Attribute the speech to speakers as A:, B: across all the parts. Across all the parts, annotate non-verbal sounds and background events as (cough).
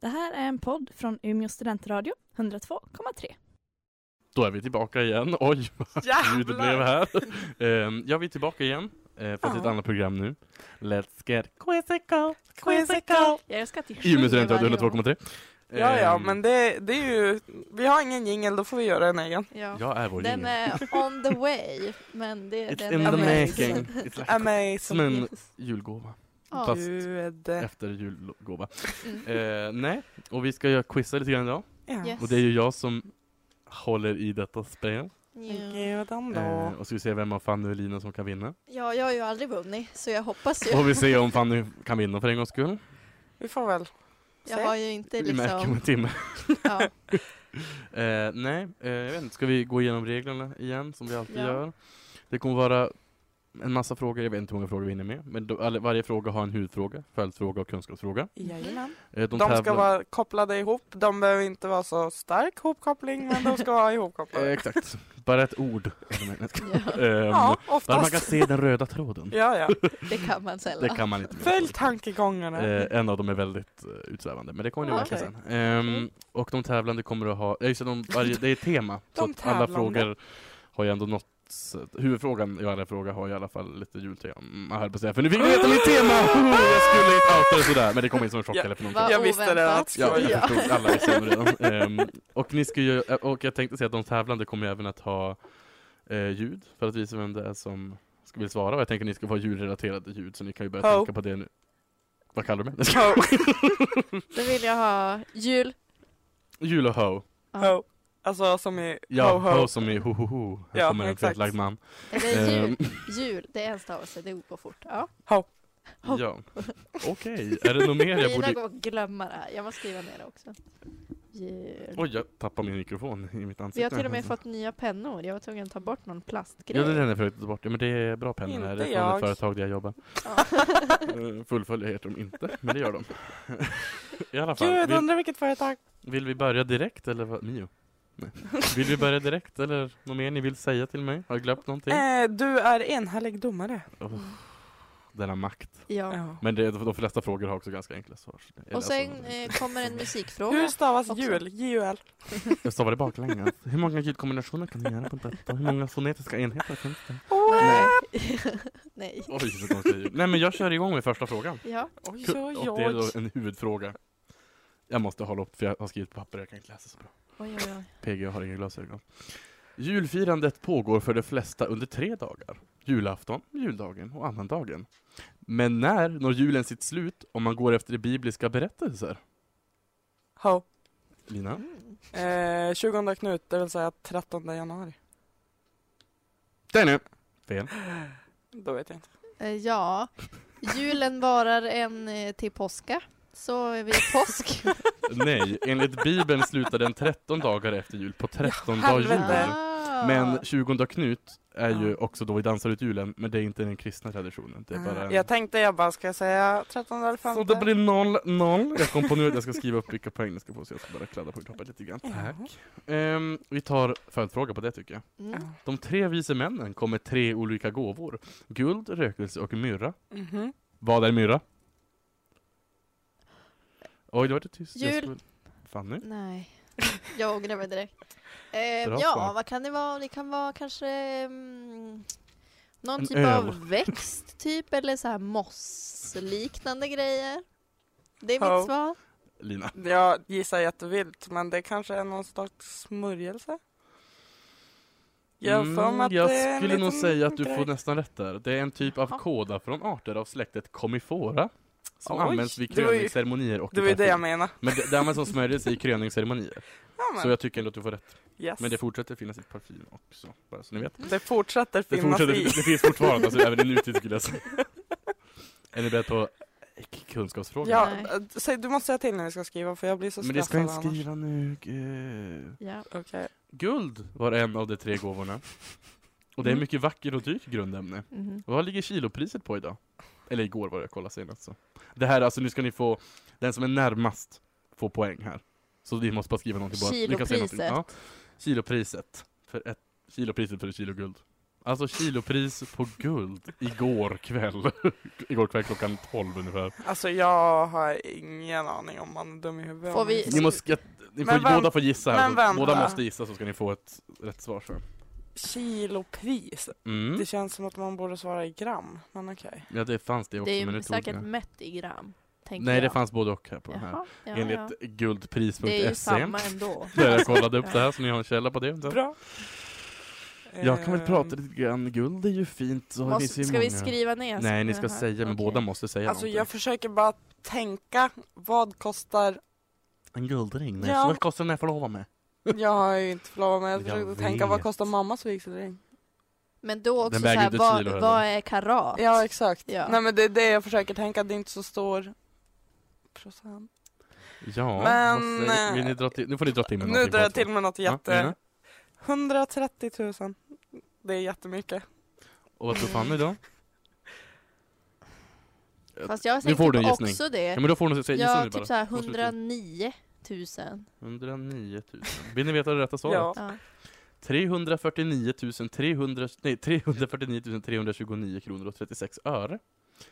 A: Det här är en podd från Umeå studentradio, 102,3.
B: Då är vi tillbaka igen. Oj, vad ljudet blev här. Ehm, ja, vi är tillbaka igen. eh, fast i ett
A: Ja.
B: annat program nu. Let's get quizzical, quizzical.
A: Jag ska till
B: I och med studentradio 102,3.
C: Ja, ja,
B: Ehm,
C: men det, det är ju... Vi har ingen jingel, då får vi göra en egen.
D: Ja.
B: Jag är vår
D: Den
B: jingel.
D: är on the way, men det,
B: It's
D: den
B: in
D: är
B: the
C: amazing.
B: making. It's
D: (laughs)
B: like som
C: Amazing.
B: en julgåva.
D: Ja.
B: Fast
C: Gud.
B: efter julgåva.
D: Mm.
B: Eh, nej, och vi ska göra quizza lite grann idag.
C: Ja.
D: Yes.
B: Och det är ju jag som håller i detta spel.
D: Ja.
C: Gud ändå.
B: Eh, och ska vi se vem av Fanny och Lina som kan vinna.
D: ja, jag har ju aldrig vunnit, så jag hoppas ju.
B: Och vi ser om Fanny kan vinna för en gångs skull.
C: Vi får väl se.
D: Jag har ju inte
B: Vi märker om
D: liksom...
B: en timme.
D: Ja.
B: (laughs) Eh, nej, eh, jag vet inte. Ska vi gå igenom reglerna igen som vi alltid
D: Ja.
B: gör? Det kommer vara en massa frågor. Jag vet inte hur många frågor vi hinner med. Men då, alla- varje fråga har en huvudfråga, följdfråga och kunskapsfråga.
C: Jajamän.
B: Eh, de
C: De ska
B: tävlar-
C: vara kopplade ihop. De behöver inte vara så stark hopkoppling, men de ska vara
B: Eh,
C: ihopkopplade.
B: exakt. Bara ett
C: (laughs)
B: ord.
D: Ja,
B: Ehm,
C: Ja,
B: Där man kan
C: oftast.
B: se den röda tråden.
C: Ja, ja.
D: det kan man
B: Det
D: sällan.
B: kan man inte.
C: Följ tankegångarna.
B: Eh, en av dem är väldigt eh, utsvävande, men det kommer ni
D: Ja,
B: märka
C: Ah, okej.
B: sen. Ehm, och de tävlande kommer att ha, ja, just det, de, varje, det är ett tema. så
C: De
B: att alla
C: tävlande.
B: frågor har ju ändå något, s- huvudfrågan i alla fråga har i alla fall lite jultema, Mm, jag höll på att säga, för nu fick ni veta mitt
C: (laughs)
B: tema! Jag skulle inte outa det sådär, men det kom in som en chock
C: Ja.
B: eller för någonting.
D: Vad
C: Jag visste det
D: oväntat.
C: att-
B: Ja, jag
D: Ja.
B: förstod, alla visste det redan. Ehm, och, ni ska ju, eh, och jag tänkte säga att de tävlande kommer ju även att ha eh, ljud, för att visa vem det är som ska vill svara. Och jag tänker att ni ska få julrelaterade ljud, så ni kan ju börja
C: Ho.
B: tänka på det nu. Vad kallar du mig?
C: Ho,
D: Då vill jag ha jul.
B: Jul och ho.
C: ho. Alltså som i
B: Ja,
C: ho,
B: ho,
C: ho.
B: som i ho, ho, ho. Här
C: Ja,
B: kommer en
C: exakt.
B: fetlagd man.
D: Eller
B: Ehm.
D: jul. Jul, det är en stavelse, det är på fort. Ja. Ho.
B: Ja. Okej, är det något mer jag
D: Lina
B: borde...
D: går och glömma det här. Jag måste skriva ner det också. Jul.
B: Oj, jag tappade min mikrofon i mitt ansikte.
D: Vi har till och med fått nya pennor. Jag var tvungen att ta bort någon plastgrej.
B: Ja, det är den jag försökte ta bort. Ja, men det är bra pennor här.
C: Inte
B: Det är från
C: jag.
B: ett företag där jag jobbar.
D: Ja.
B: (laughs) Eh, Fullföljer heter de inte, men det gör de. (laughs) I alla fall,
C: Gud,
B: vill,
C: undrar vilket företag.
B: vill vi börja direkt eller vad? Mio? Nej. Vill vi börja direkt eller något mer ni vill säga till mig? Har jag glömt någonting?
C: Eh, du är enhällig domare.
B: Denna makt.
D: ja.
C: Ja.
B: Men det, de flesta frågor har också ganska enkla svar. så det- eller
D: Och sen
B: alltså-
D: eh, kommer
B: (laughs)
D: en musikfråga.
C: Hur stavas
D: också.
C: jul? J-U-L.
B: Jag stavar det baklänges. Hur många ljudkombinationer kan ni göra på detta? Hur många fonetiska enheter finns det?
D: Nej. (laughs) Nej.
B: Oj, så konstigt ljud. Nej men jag kör igång med första frågan.
D: Ja.
C: Oj,
B: Ku-
C: oj,
B: Och det är
C: oj.
B: då en huvudfråga. Jag måste hålla upp för jag har skrivit på papper, jag kan inte läsa så bra.
D: Oj, oj, oj.
B: PG har inga glasögon. Julfirandet pågår för de flesta under tre dagar. Julafton, juldagen och annandagen. Men när når julen sitt slut om man går efter de bibliska berättelser?
C: Ho.
B: Lina?
D: Mm.
C: Eh, 20 Knut, det vill säga 13 januari.
B: Där nu! Fel.
C: Då vet jag inte.
D: Eh, ja. Julen varar en eh, till påska. Så är vi i
B: (laughs)
D: påsk.
B: Nej, enligt Bibeln slutar den 13 dagar efter jul på 13
C: Ja,
B: dag jul.
C: helvete.
D: Ah.
B: Men 20 Knut är ju
C: Ja.
B: också då vi dansar ut julen, men det är inte den kristna traditionen. Det är bara
C: Eh,
B: en...
C: Jag tänkte jag bara, ska jag säga 13 eller 15?
B: Så det blir 0-0. Jag kom på nu att jag ska skriva upp vilka poäng ni ska få, så jag ska bara kladda på papper lite grann.
C: Ja.
B: Tack. Ehm, vi tar följdfråga på det tycker jag.
D: Mm.
B: De tre vise männen kom med tre olika gåvor. Guld, rökelse och myrra.
C: Mhm.
B: Vad är myrra? Oj, då var det tyst. Jag
D: Jul.
B: skulle- Fanny?
D: Nej. Jag ångrar mig direkt. Eh,
B: Bra
D: ja,
B: svar.
D: vad kan det vara? Det kan vara kanske mm, någon
B: En
D: typ
B: öl.
D: av växt, typ, eller så här mossliknande grejer. Det är mitt
C: Ja.
D: svar.
B: Lina?
C: Jag gissar jättevilt, men det kanske är någon slags smörjelse? Jag har för mig
B: Mm,
C: att
B: jag
C: det är en
B: skulle nog
C: liten
B: säga att du
C: grej.
B: får nästan rätt där. Det är en typ av
D: Jaha.
B: kåda från arter av släktet Comifora som
C: Oj,
B: används vid
C: det var ju-
B: kröningsceremonier och i
C: Det var ju det
B: parfym.
C: jag menade.
B: Men det, det används som smörjelse i kröningsceremonier.
C: (laughs) Ja, men,
B: Så jag tycker ändå att du får rätt.
C: yes.
B: Men
C: men
B: det
C: det,
B: fortsätter finnas i parfym också, bara så ni vet.
C: fortsätter
B: Det,
C: finnas
B: fortsätter,
C: i.
B: det finns fortfarande, alltså, även i nutid skulle jag
C: (laughs)
B: säga. Är ni beredda på (laughs) kunskapsfrågan?
C: Ja,
D: Nej.
C: eh, säg, du måste säga till när vi ska skriva, för jag blir så
B: Men det ska
C: stressad
B: jag inte
C: annars.
B: skriva nu. gud.
D: Ja.
C: Okej.
B: Guld var en av de tre gåvorna. Och det är
D: Mm.
B: mycket vacker och dyrt grundämne.
D: Mhm.
B: Vad ligger kilopriset på idag? Eller igår var det jag kollade senast. Så. Det här alltså, nu ska ni få, den som är närmast får poäng här. Så ni måste bara skriva någonting. Bara, ni kan säga någonting.
D: Kilopriset.
B: Ja. Kilopriset. För ett, kilopriset för ett kilo guld. Alltså kilopris på guld igår kväll. (laughs) igår kväll klockan 12 ungefär.
C: Alltså jag har ingen aning om man är dum i huvudet.
D: Får vi-
B: Ni, måste, ni
C: Men
B: får,
C: vänt-
B: båda får gissa
C: men
B: här. så,
C: vänta.
B: båda måste gissa så ska ni få ett rätt svar sen.
C: Kilopris?
B: Mm.
C: Det känns som att man borde svara i gram, men okej.
B: Ja, det fanns det också,
D: Det är
B: men
D: ju
B: nu tog
D: säkert
B: jag.
D: mätt i gram. Tänker
B: Nej, det
D: jag.
B: fanns både och här på den här.
D: Jaha, ja,
B: Enligt
D: ja.
B: guldpris.se.
D: Det är ju samma ändå.
B: Där jag kollade upp det här, så ni har en källa på det.
C: Bra.
B: Jag kan väl
C: Ehm,
B: prata lite grann, guld är ju fint. Så det finns
D: Måste,
B: ju
D: ska vi
B: många.
D: skriva ner?
B: Nej, ni ska
D: den här?
B: säga, men
D: Okej.
B: båda måste säga
C: Alltså jag
B: någonting.
C: försöker bara tänka, vad kostar...
B: En guldring, nej,
C: Ja.
B: så vad kostar den jag förlovar mig?
C: Jag har ju inte förlovat mig, jag
B: Jag
C: försökte tänka vad
B: vet.
C: kostar mammas vigselring?
D: Men då också
B: Den
D: så
B: väger
D: här,
B: inte ett
D: vad,
B: kilo heller.
D: vad är karat?
C: Ja exakt.
D: Ja.
C: Nej men det är det jag försöker tänka, det är inte så stor procent.
B: Ja,
C: Men,
B: vad säger- vill ni dra till, nu får ni dra till med
C: Nu
B: någonting
C: drar jag
B: bara så.
C: till med något
B: Ja,
C: jätte...
B: gärna.
C: 130 000. Det är jättemycket.
B: Och vad tror Fanny
C: (laughs)
B: då?
D: Fast jag
B: Nu får du
D: tänkte
B: en gissning.
D: också
B: Ja,
D: det.
B: men då får hon säga gissa nu
D: Ja,
B: bara.
D: typ såhär
B: Vad skulle du
D: 109 000.
B: 109 000. Vill ni veta det rätta svaret?
C: Ja.
D: Ja.
B: 349 300, nej, 349 329 kronor och 36 öre.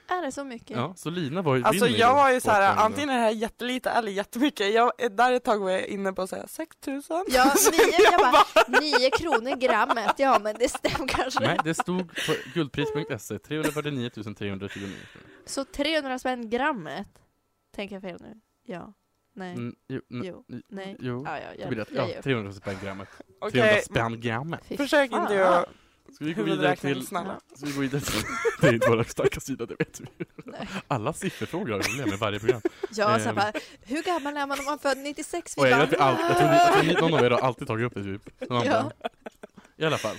D: Är det så mycket?
B: Ja, så Lina var ju
C: Alltså
B: vinner
C: jag
B: då
C: var ju
B: på
C: såhär,
B: pengarna.
C: antingen är det här jättelite eller jättemycket. Jag, där ett tag var jag inne på att säga 6 000. (laughs)
B: (laughs)
D: Ja, nio, jag bara, nio kronor grammet, ja men det stämmer kanske.
B: Nej, det stod på guldpris.se 349 329 kronor.
D: Så 300 spänn grammet? Tänker jag fel nu? Ja. Nej.
B: Mm, jo, nej,
D: Jo. Nej.
B: jo.
D: Ja, ja,
B: Det
D: jag,
B: blir
D: jag,
B: rätt. Ja,
D: ger upp.
B: 300 spänn grammet. 300
C: Okej,
B: spänn grammet.
D: Fy
C: försök
D: fan.
C: inte göra
B: Ska vi gå vidare
C: huvudräkning
B: till...
C: snälla.
B: Ska vi gå vidare till... (laughs) Det är inte vår starka sida, det vet vi.
D: Nej.
B: Alla sifferfrågor har vi problem med varje
D: (laughs)
B: program.
D: Ja, så
B: Ehm.
D: bara, hur gammal är man om man är född 96?
B: Och jag, vet att vi all, jag, tror, ni- jag tror
D: "Ah!"
B: ni- någon av er har alltid tagit upp det typ. Någon
D: Ja.
B: annan. I alla fall.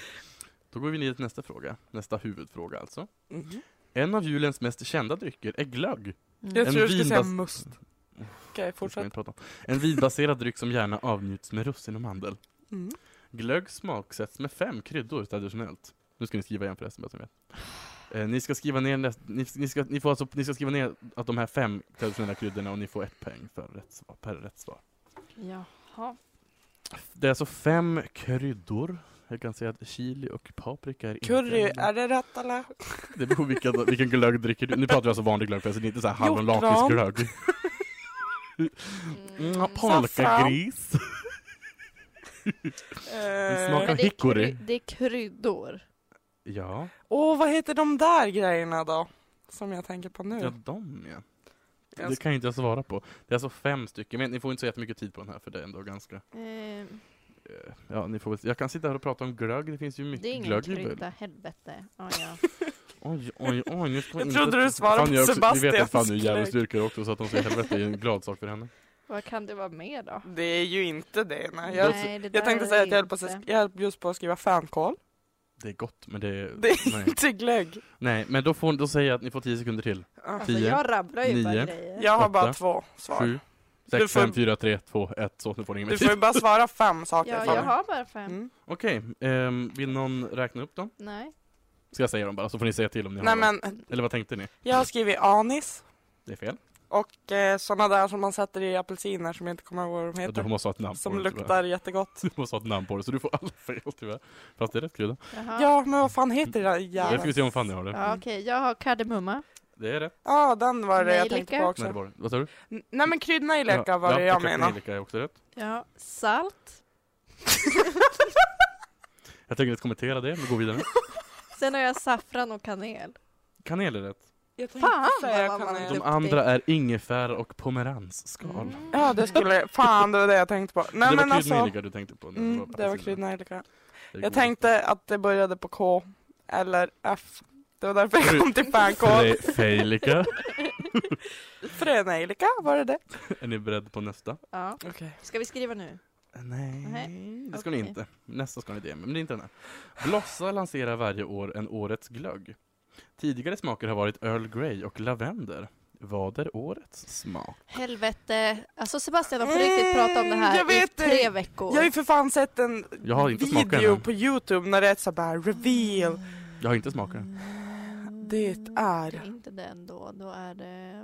B: Då går vi ner till nästa fråga. Nästa huvudfråga alltså.
C: Mhm.
D: Mm.
B: En av julens mest kända drycker är glögg.
C: Jag
D: Mm.
B: En
C: tror du skulle säga
B: vinbas-
C: must. Okej,
B: Det ska vi
C: fortsätt.
B: inte prata om. En vinbaserad dryck som gärna avnjuts med russin och mandel.
C: Mm.
B: Glögg smaksätts med fem kryddor traditionellt. Nu ska ni skriva igen förresten, bara så ni vet. Eh, ni ska skriva ner näst, ni, ni, ska, ni, får alltså, ni ska skriva ner att de här fem traditionella kryddorna och ni får ett poäng för rätt svar, per rätt svar.
D: Jaha.
B: Det är alltså fem kryddor. Jag kan säga att chili och paprika är inte
C: Curry,
B: en-
C: är det rätt eller?
B: Det beror på vilken, vilken glögg dricker du. Nu pratar vi alltså vanlig glögg förresten, inte så här
C: Hjortron.
B: hallonlakritsglögg. Mm, Polkagris.
C: Eh,
B: smakar-
D: Men det, är
B: Hickory.
D: kry- det är kryddor.
B: Ja,
C: Åh, vad heter de där grejerna då? Som jag tänker på nu.
B: ja de ja.
C: Jag
B: Det kan ju inte jag svara på. Det är alltså fem stycken, men ni får inte så jättemycket tid på den här för det är ändå ganska
D: Eh,
B: Eh, Ja, ni får väl, jag kan sitta här och prata om glögg, det finns ju
D: det är
B: mycket
D: ingen
B: glögg i
D: krydda,
B: världen.
D: helvete. Ja, ja.
B: Oj, oj, oj, nu ska man
C: Jag
B: inte...
C: trodde du svarade
B: Fanny
C: på
B: är också- Ni vet att
C: Sebastians
B: Fanny är
C: glögg.
B: djävulsdyrkare också, så att hon säger helvete är ju en glad sak för henne.
D: (laughs) Vad kan det vara mer då?
C: Det är ju inte det. Nej. Jag,
D: Nej, det
C: jag
D: där
C: tänkte
D: är
C: säga att jag höll, på att
D: inte.
C: säga, jag höll just på att skriva fänkål. (laughs)
B: Det är gott, men det är...
C: Det är
B: Nej.
C: inte glögg.
B: Nej, men då, får, då säger jag att ni får tio sekunder till.
C: Ja.
D: Alltså,
B: Tio,
D: jag rabblar ju
B: nio,
D: bara grejer.
C: Jag har
B: Åtta,
C: bara två svar.
B: Sju,
C: Du
B: sex,
C: får-
B: fem, fyra, tre, två, ett, så nu får ni ingen mer
C: Du
B: tid.
C: får ju bara svara fem saker.
D: Ja,
C: Fanny.
D: jag har bara fem.
C: Mm.
B: Okej, ehm, vill någon räkna upp dem?
D: Nej.
B: Ska jag säga dem bara, så får ni säga till om ni
C: Nej
B: har dem.
C: men,
B: Eller vad tänkte ni?
C: jag har skrivit anis
B: Det är fel.
C: och eh, sådana där som man sätter i apelsiner som jag inte kommer ihåg vad de
B: Ja, Du
C: heter.
B: måste ha ett namn på
C: Som
B: det, tyvärr.
C: luktar jättegott.
B: Du måste ha ett namn på det, så du får alla fel tyvärr. Fast det är rätt krydda.
D: Jaha. Ja,
C: Ja, men vad fan heter det där
B: Det ska
C: jävla...
B: vi se om Fanny har det.
D: Okej, jag har kardemumma.
B: Det är rätt.
C: Ja, den var det jag tänkte
D: Nejlika.
C: på
B: Nej, det
C: också.
B: var det. Vad sa du?
C: N- Nej men kryddnejlika var det jag
B: exakt.
C: menade.
B: Nejlika är också rätt.
D: Ja, salt.
B: Jag tänker inte kommentera det, men gå vidare.
D: Sen har jag saffran och kanel.
B: Kanel är rätt.
C: Jag tänkte
D: Fan,
C: säga
D: vad man
C: kanel.
D: är
B: De
D: Duktig.
B: andra är ingefära och pomeransskal.
D: Mm.
C: Ja,
B: (laughs)
C: det skulle... Fan, det var det jag tänkte på. Nej
B: det
C: men
B: var
C: alltså...
B: kryddnejlika du tänkte på. när du
C: Mm,
B: på
C: det var
B: apelsinerna.
C: kryddnejlika.
B: Det är
C: Jag
B: godis.
C: tänkte att det började på K. Eller F. Det var därför jag kom till fänkål.
B: Fre-
C: (laughs)
B: Fejlika.
C: Frönejlika, var det det?
B: Är ni beredda på nästa?
D: Ja.
C: Okej.
D: Ska vi skriva nu?
B: Nej, det ska ni
D: okej.
B: inte. Nästa ska ni det, men det är inte den här. Blossa lanserar varje år en årets glögg. Tidigare smaker har varit Earl Grey och lavendel. Vad är årets smak?
D: Helvete. Alltså Sebastian, de får riktigt prata om det här
C: Mm, jag vet
D: i
C: det.
D: tre veckor.
C: Jag har ju för fan sett en
B: Jag har inte smakat den
C: video
B: än.
C: på Youtube när det är så bara reveal.
B: Jag har inte smakat
C: Mm.
B: den.
C: Det
D: Mm. Det är
C: är...
D: inte den då, då är det...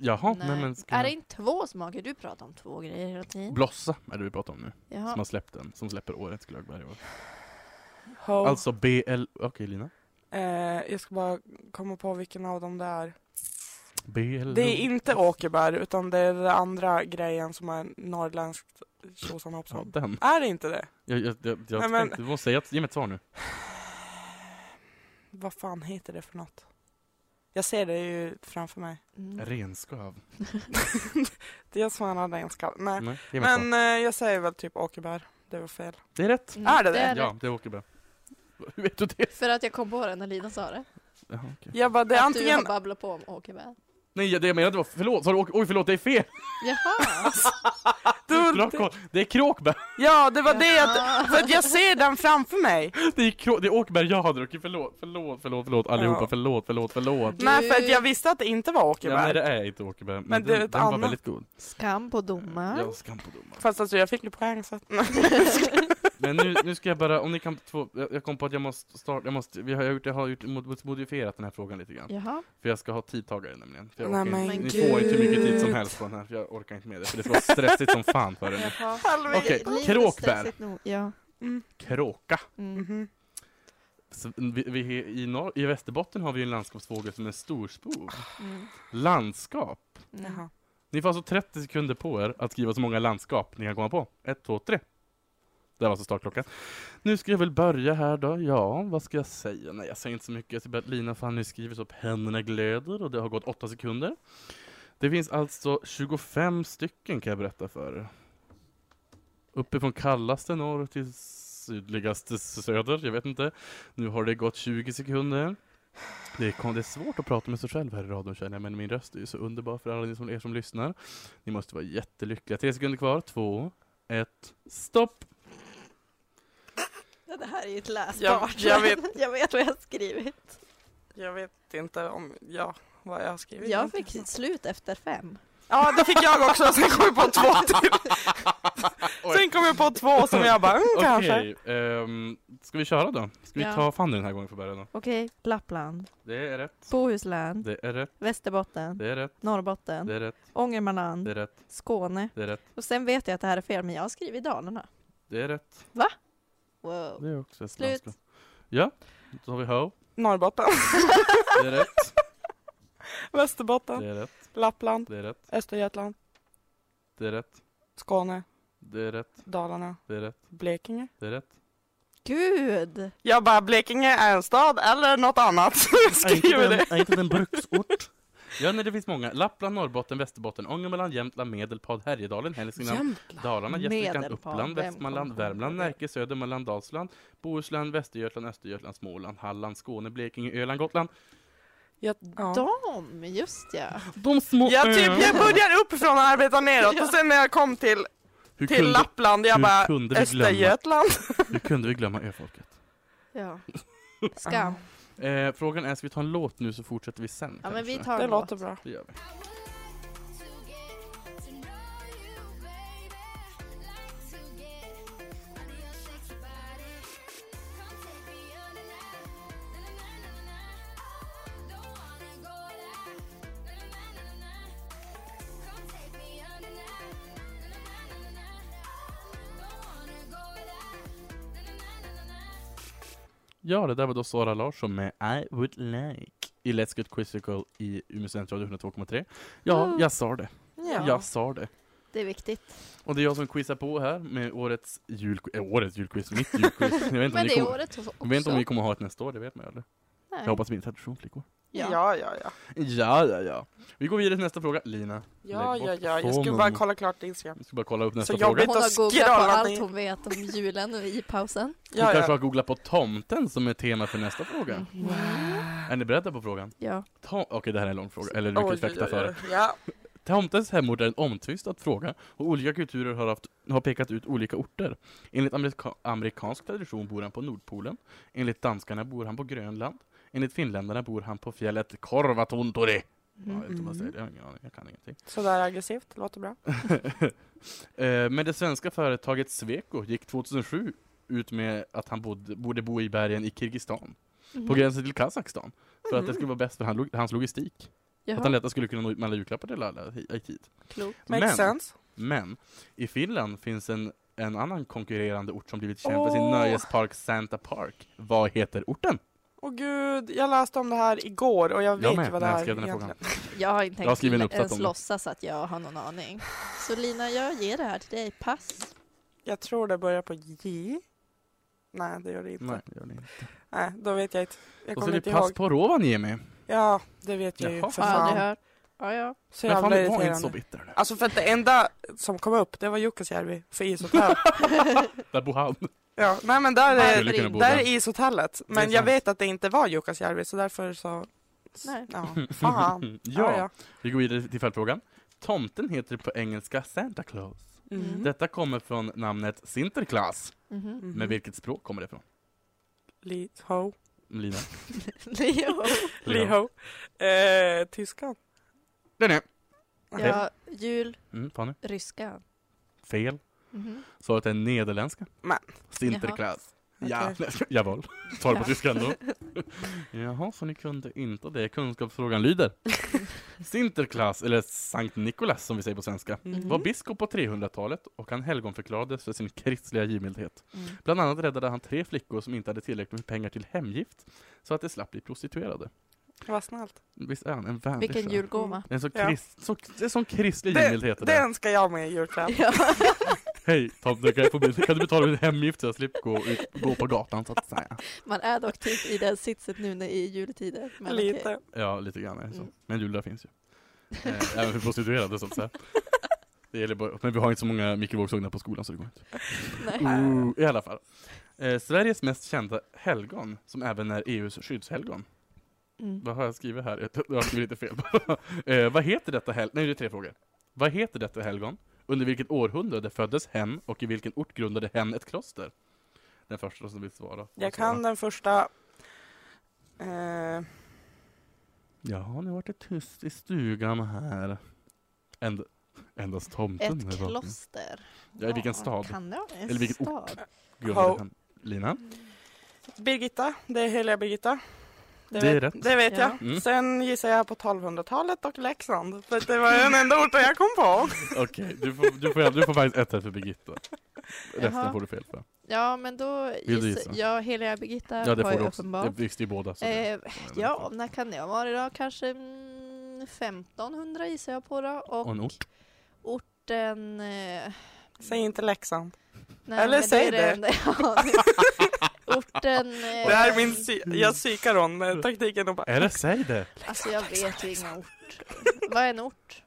B: Jaha, nej,
D: Nej.
B: men ska
D: Är
B: jag-
D: det inte två smaker? Du pratar om två grejer hela tiden.
B: Blossa är det vi pratar om nu, som
D: Jaha.
B: har släppt den, som släpper årets glögg varje år.
C: Ho.
B: Alltså BL... Okej Lina.
C: Eh, jag ska bara komma på vilken av dem det är.
B: BL...
C: Det är inte åkerbär utan det är den andra grejen som är norrländskt tjosan
B: Ja,
C: hoppsan.
B: den.
C: Är det inte det?
B: Jag, jag, jag, jag
C: Nej, men-
B: tänkte, du måste säga, ge mig ett svar nu.
C: Vad fan heter det för något? Jag ser det ju framför mig.
D: Mm.
B: Renskav.
C: Det är som en ardenskall. Nej.
B: Nej, ge mig ett svar.
C: Men eh, jag säger väl typ åkerbär. Det var fel.
B: Det är rätt.
D: Mm,
C: Är det det?
D: är
B: Ja, det åker bra. (laughs) Hur vet du det?
D: För att jag kom på det när Lina sa det.
B: Jaha, okej.
C: Jag bara, det är
D: att du
C: antingen...
D: har babblat på om åkerbär.
B: Nej, det jag menade var, förlåt, sa du åker- oj förlåt, det är fel!
D: Jaha!
B: Bra
C: Du,
B: koll. Det är kråkbär!
C: ja, det var det att...
D: Jaha.
C: För att jag ser den framför mig.
B: (laughs) Det är, krå- det är åkerbär jag har druckit, förlåt, förlåt, förlåt, förlåt allihopa,
C: Ja.
B: förlåt, förlåt, förlåt.
D: Du-
C: Nej, för att jag visste att det inte var
B: Ja, nej
C: åkerbär.
B: det är inte åkerbär, men,
C: Men det är
B: den,
C: ett
B: den var
C: annat.
B: väldigt god.
D: Skam på domaren.
B: Jag skam på domaren.
C: Fast alltså jag fick ju poäng så att... (laughs)
B: Men nu, nu ska jag bara, om ni kan två, jag jag kom på att jag måste starta, jag måste, vi har, jag har gjort, jag har gjort, mod- modifierat den här frågan lite grann.
D: Jaha.
B: För jag ska ha tidtagare nämligen. För jag
C: Nej,
B: orkar
C: men
B: inte, ni
D: gud.
B: får inte hur mycket tid som helst på den här, för jag orkar inte med det, för det var stressigt som fan för en.
D: Jaha.
C: Halvvägs.
B: Okej,
D: Livet är
B: kråkbär. Mm-hmm.
D: stressigt nog. Ja.
C: Mm.
B: Kråka.
D: Mm.
C: Mhm.
B: Så Vi, vi, i, norr, I Västerbotten har vi en landskapsfågel som är storspov.
D: Mm.
B: Landskap.
D: Mm.
C: Jaha.
B: Ni får alltså 30 sekunder på er att skriva så många landskap ni kan komma på. Ett, två, tre. Det var alltså startklockan. Nu ska jag väl börja här då. Ja, vad ska jag säga? Nej, jag säger inte så mycket. Jag ser bara att Lina och Fanny skriver så pennorna glöder och det har gått 8 sekunder. Det finns alltså 25 stycken kan jag berätta för er. Uppifrån kallaste norr till sydligaste söder, jag vet inte. Nu har det gått 20 sekunder. Det är, kon- det är svårt att prata med sig själv här i radion känner jag, men min röst är ju så underbar för alla ni som, er som lyssnar. Ni måste vara jättelyckliga. Tre sekunder kvar. Två, ett, stopp!
D: Det här är ju ett läsbart.
C: Jag- jag vet.
D: (laughs) jag vet vad jag har skrivit.
C: Jag vet inte om... Ja, vad jag har skrivit.
D: Jag fick slut efter fem.
C: Ja, det fick jag också. Sen kom jag på två till.
B: (laughs)
C: Sen kom jag på två som jag bara, mm, kanske.
B: Okej, ehm, ska vi köra då? Ska vi
D: Ja.
B: ta Fanny den här gången för början då?
D: Okej, Lappland,
B: Det är rätt,
D: Bohuslän,
B: det är rätt,
D: Västerbotten,
B: det är rätt,
D: Norrbotten,
B: det är rätt,
D: Ångermanland,
B: det är rätt,
D: Skåne.
B: det är rätt,
D: Och sen vet jag att det här är fel, men jag har skrivit Dalarna.
B: det är rätt.
D: Wow.
B: Det är också ett
D: Slut.
B: landskap. Ja, då har vi Ho.
C: Norrbotten, (laughs)
B: Det är rätt,
C: Västerbotten,
B: det är rätt,
C: Lappland,
B: det är rätt,
C: Östergötland,
B: det är rätt,
C: Skåne,
B: det är rätt,
C: Dalarna,
B: det är rätt,
C: Blekinge.
B: det är rätt.
D: Gud!
C: Jag bara, Blekinge är en stad eller något annat. (laughs) Jag skriver det.
B: Är inte den bruksort? (laughs) Ja, nej, det finns många. Lappland, Norrbotten, Västerbotten, Ångermanland, Jämtland, Medelpad, Härjedalen, Hälsingland, Dalarna, Gästrikland,
D: Medelpad,
B: Uppland,
D: vem
B: Västmanland,
D: kom på det?
B: Värmland, Närke, Södermanland, Dalsland, Bohuslän, Västergötland, Östergötland, Småland, Halland, Skåne, Blekinge, Öland, Gotland.
C: Jag, ja.
D: Dam, just ja.
B: De små
C: jag, typ, jag börjar uppifrån och arbetar neråt och sen när jag kom till,
B: hur,
C: till
B: kunde,
C: Lappland, jag
B: hur
C: bara,
B: kunde vi glömma?
C: Östergötland.
B: hur kunde vi glömma öfolket?
D: ja. Skam.
B: Eh, frågan är, ska vi ta en låt nu så fortsätter vi sen?
D: Ja men vi
B: kanske?
D: tar
C: Det
D: en
C: låter
D: låt.
C: bra.
B: Det gör vi. Ja, det där var då Sara Larsson med I would like i Let's Get Quizzical i Umeå Studentradio 102,3. Ja,
D: Mm.
B: jag sa det.
D: Ja.
B: Jag sa det.
D: Det är viktigt.
B: Och det är jag som quizar på här med årets julquiz, äh, årets julquiz, mitt julquiz. Jag vet inte, om
D: Men
B: vi,
D: det är
B: kommer,
D: året också.
B: jag vet inte om vi kommer ha ett nästa år, det vet man ju aldrig.
D: Nej.
B: Jag hoppas vi inte har tradition flickor.
D: Ja.
C: Ja, ja, ja.
B: Ja, ja, ja. Vi går vidare till nästa fråga. Lina,
C: Ja,
B: Lägg
C: ja,
B: bort
C: ja. Jag skulle
B: fonen.
C: bara kolla klart Instagram.
B: vi ska bara kolla upp nästa
C: Så
B: fråga.
C: jobbigt.
B: Hon
D: Hon
C: Sitta och
D: har googlat på
C: scrolla
D: allt
C: ner.
D: hon vet om julen i pausen.
C: Ja,
B: kanske
C: ja.
B: har googlat på tomten som är tema för nästa fråga.
D: Mm.
B: Är ni beredda på frågan?
D: Ja.
B: Tom- Okej, det här är en lång fråga, eller du kan
C: Oj,
B: fäkta
C: oj,
B: för det.
C: oj. Ja.
B: Tomtens hemort är en omtvistad fråga och olika kulturer har, haft, har pekat ut olika orter. Enligt amerika amerikansk tradition bor han på Nordpolen. Enligt danskarna bor han på Grönland. Enligt finländarna bor han på fjället Korvatuntori. Ja, jag vet inte om man säger det, jag har ingen aning, jag kan ingenting. (laughs)
C: Sådär aggressivt, låter bra.
B: Eh, Men det svenska företaget Sweco gick 2007 ut med att han bodde, borde bo i bergen i Kirgizistan,
D: Mhm.
B: på
D: Mm.
B: gränsen till Kazakstan, för att det skulle vara bäst för han, log- hans logistik. Att han lättare skulle kunna nå ut med alla julklappar till alla i, i tid.
D: Klok.
C: Makes
B: men,
C: sense.
B: men, i Finland finns en en annan konkurrerande ort som blivit känd för sin
C: Åh.
B: nöjespark Santa Park. Vad heter orten?
C: Åh gud, jag läste om det här igår och jag vet
B: Jag med,
C: vad det
B: när jag
C: här
B: skrev den här
C: egentligen...
D: Jag har inte
B: Jag har
D: tänkt
B: skrivit en uppsats
D: ens
B: om det.
D: låtsas att jag har någon aning. Så Lina, jag ger det här till dig. Pass.
C: Jag tror det börjar på J. Nej, det gör det inte.
B: Nej,
C: Nej,
B: det gör ni inte.
C: då vet jag inte. Jag
B: Och så är
C: kommer
B: det
C: inte
B: pass
C: ihåg.
B: på Rovaniemi.
C: Ja, det vet jag ju.
B: Jaha.
C: För
D: Har jag aldrig
C: fan.
D: hört. Ja, ja.
C: Så
B: Men fan,
C: jävla
B: var inte så
C: irriterande.
B: bitter nu.
C: Alltså för att det enda som kom upp, det var Jukkasjärvi för ishotel.
B: (laughs) Där bor han.
C: ja, nej men (laughs) där
B: Han
C: är,
B: skulle kunna bo
C: där
B: där.
C: är ishotellet.
B: Det är
C: Men
B: sant.
C: jag vet att det inte var Jukkasjärvi så därför så...
D: Nej.
B: (laughs)
C: Ja, fan.
B: ja, vi går vidare till följdfrågan. Tomten heter på engelska Santa Claus.
C: Mm.
B: Detta kommer från namnet Sinterklaas.
D: Mhm.
C: Mhm.
B: Men vilket språk kommer det ifrån?
C: Liho.
B: Lina?
D: Leo.
C: Liho. Eh, tyskan.
B: Den är.
D: Ja, jul,
B: Mm, Fanny?
D: ryska.
B: Fel.
D: Mhm.
B: Svaret är nederländska.
C: Men.
B: Sinterklaas. (laughs) Ja,
C: Okej.
B: jawohl. Svar på
D: Ja.
B: tyskan då. Jaha, så ni kunde inte det. Kunskapsfrågan lyder. Sinterklaas, eller Sankt Nikolas som vi säger på svenska,
D: Mhm.
B: var biskop på 300-talet och han helgonförklarades för sin kristliga givmildhet.
D: Mm.
B: Bland annat räddade han tre flickor som inte hade tillräckligt med pengar till hemgift, så att de slapp bli prostituerade.
C: Vad snällt.
B: Visst är han en vänlig
D: Vilken
B: själ?
D: julgåva.
B: Det är en sån,
C: Ja.
B: krist, så, det är en sån kristlig
C: Den,
B: givmildhet det där.
C: den ska jag med i julklapp.
D: (laughs) Mm. Ja.
B: Hej Tobbe, kan, jag få, kan du betala min hemgift så jag slipper gå, ut, gå på gatan så att säga?
D: Man är dock typ i den sitset nu när i juletider. Men okej.
C: Lite.
B: Ja, lite grann är det så.
D: Mm.
B: Men julrör finns ju. Eh, även för prostituerade så att säga. Det gäller bara, men vi har inte så många mikrovågsugnar på skolan så det går inte.
D: Nej.
B: Ooh, I alla fall. Eh, Sveriges mest kända helgon, som även är EUs skyddshelgon.
D: Mm.
B: Vad har jag skrivit här? Jag har skrivit lite fel. (laughs) eh, vad heter detta helgon? Nej, det är tre frågor. Vad heter detta helgon? Under vilket århundrade föddes hen och i vilken ort grundade hen ett kloster? Den första som vill svara.
C: Jag kan den första... Eh,
B: Ja, nu vart det tyst i stugan här. Änd endast tomten.
D: Ett
B: är vaken.
D: kloster.
B: Ja, i vilken stad?
D: Kan det vara? En
B: Eller vilken ort?
D: stad?
B: Grundade
C: Ho.
B: hen. Lina?
C: Birgitta, det är heliga Birgitta.
B: Det är
C: vet,
B: rätt.
C: Det vet
D: Ja.
C: jag.
B: Mm.
C: Sen gissar jag på 1200-talet och Leksand. För att det var den enda orten jag kom på.
B: Okej, du, får, du, får, du får faktiskt ett rätt för Birgitta. Resten
D: Jaha.
B: får du fel för.
D: Ja, men då
B: du
D: gissar
B: gissa?
D: jag. Heliga Birgitta
B: Ja, det
D: var
B: får
D: ju
B: du också. Det
D: uppenbar.
B: visste ju båda. Så det-
D: Eh, ja, när kan det ha varit då? Kanske mm, 1500 gissar jag på då. Och
B: Och en ort.
D: orten... Eh,
C: Säg inte Leksand.
D: nej,
C: Eller
D: men
C: säg
D: är
C: det.
D: enda jag har. (laughs) orten... Eh,
C: Det här är min sy- jag psykar hon med taktiken och bara...
B: Eller säg Mm. det!
D: Alltså jag vet ju inga ort. Vad är en ort?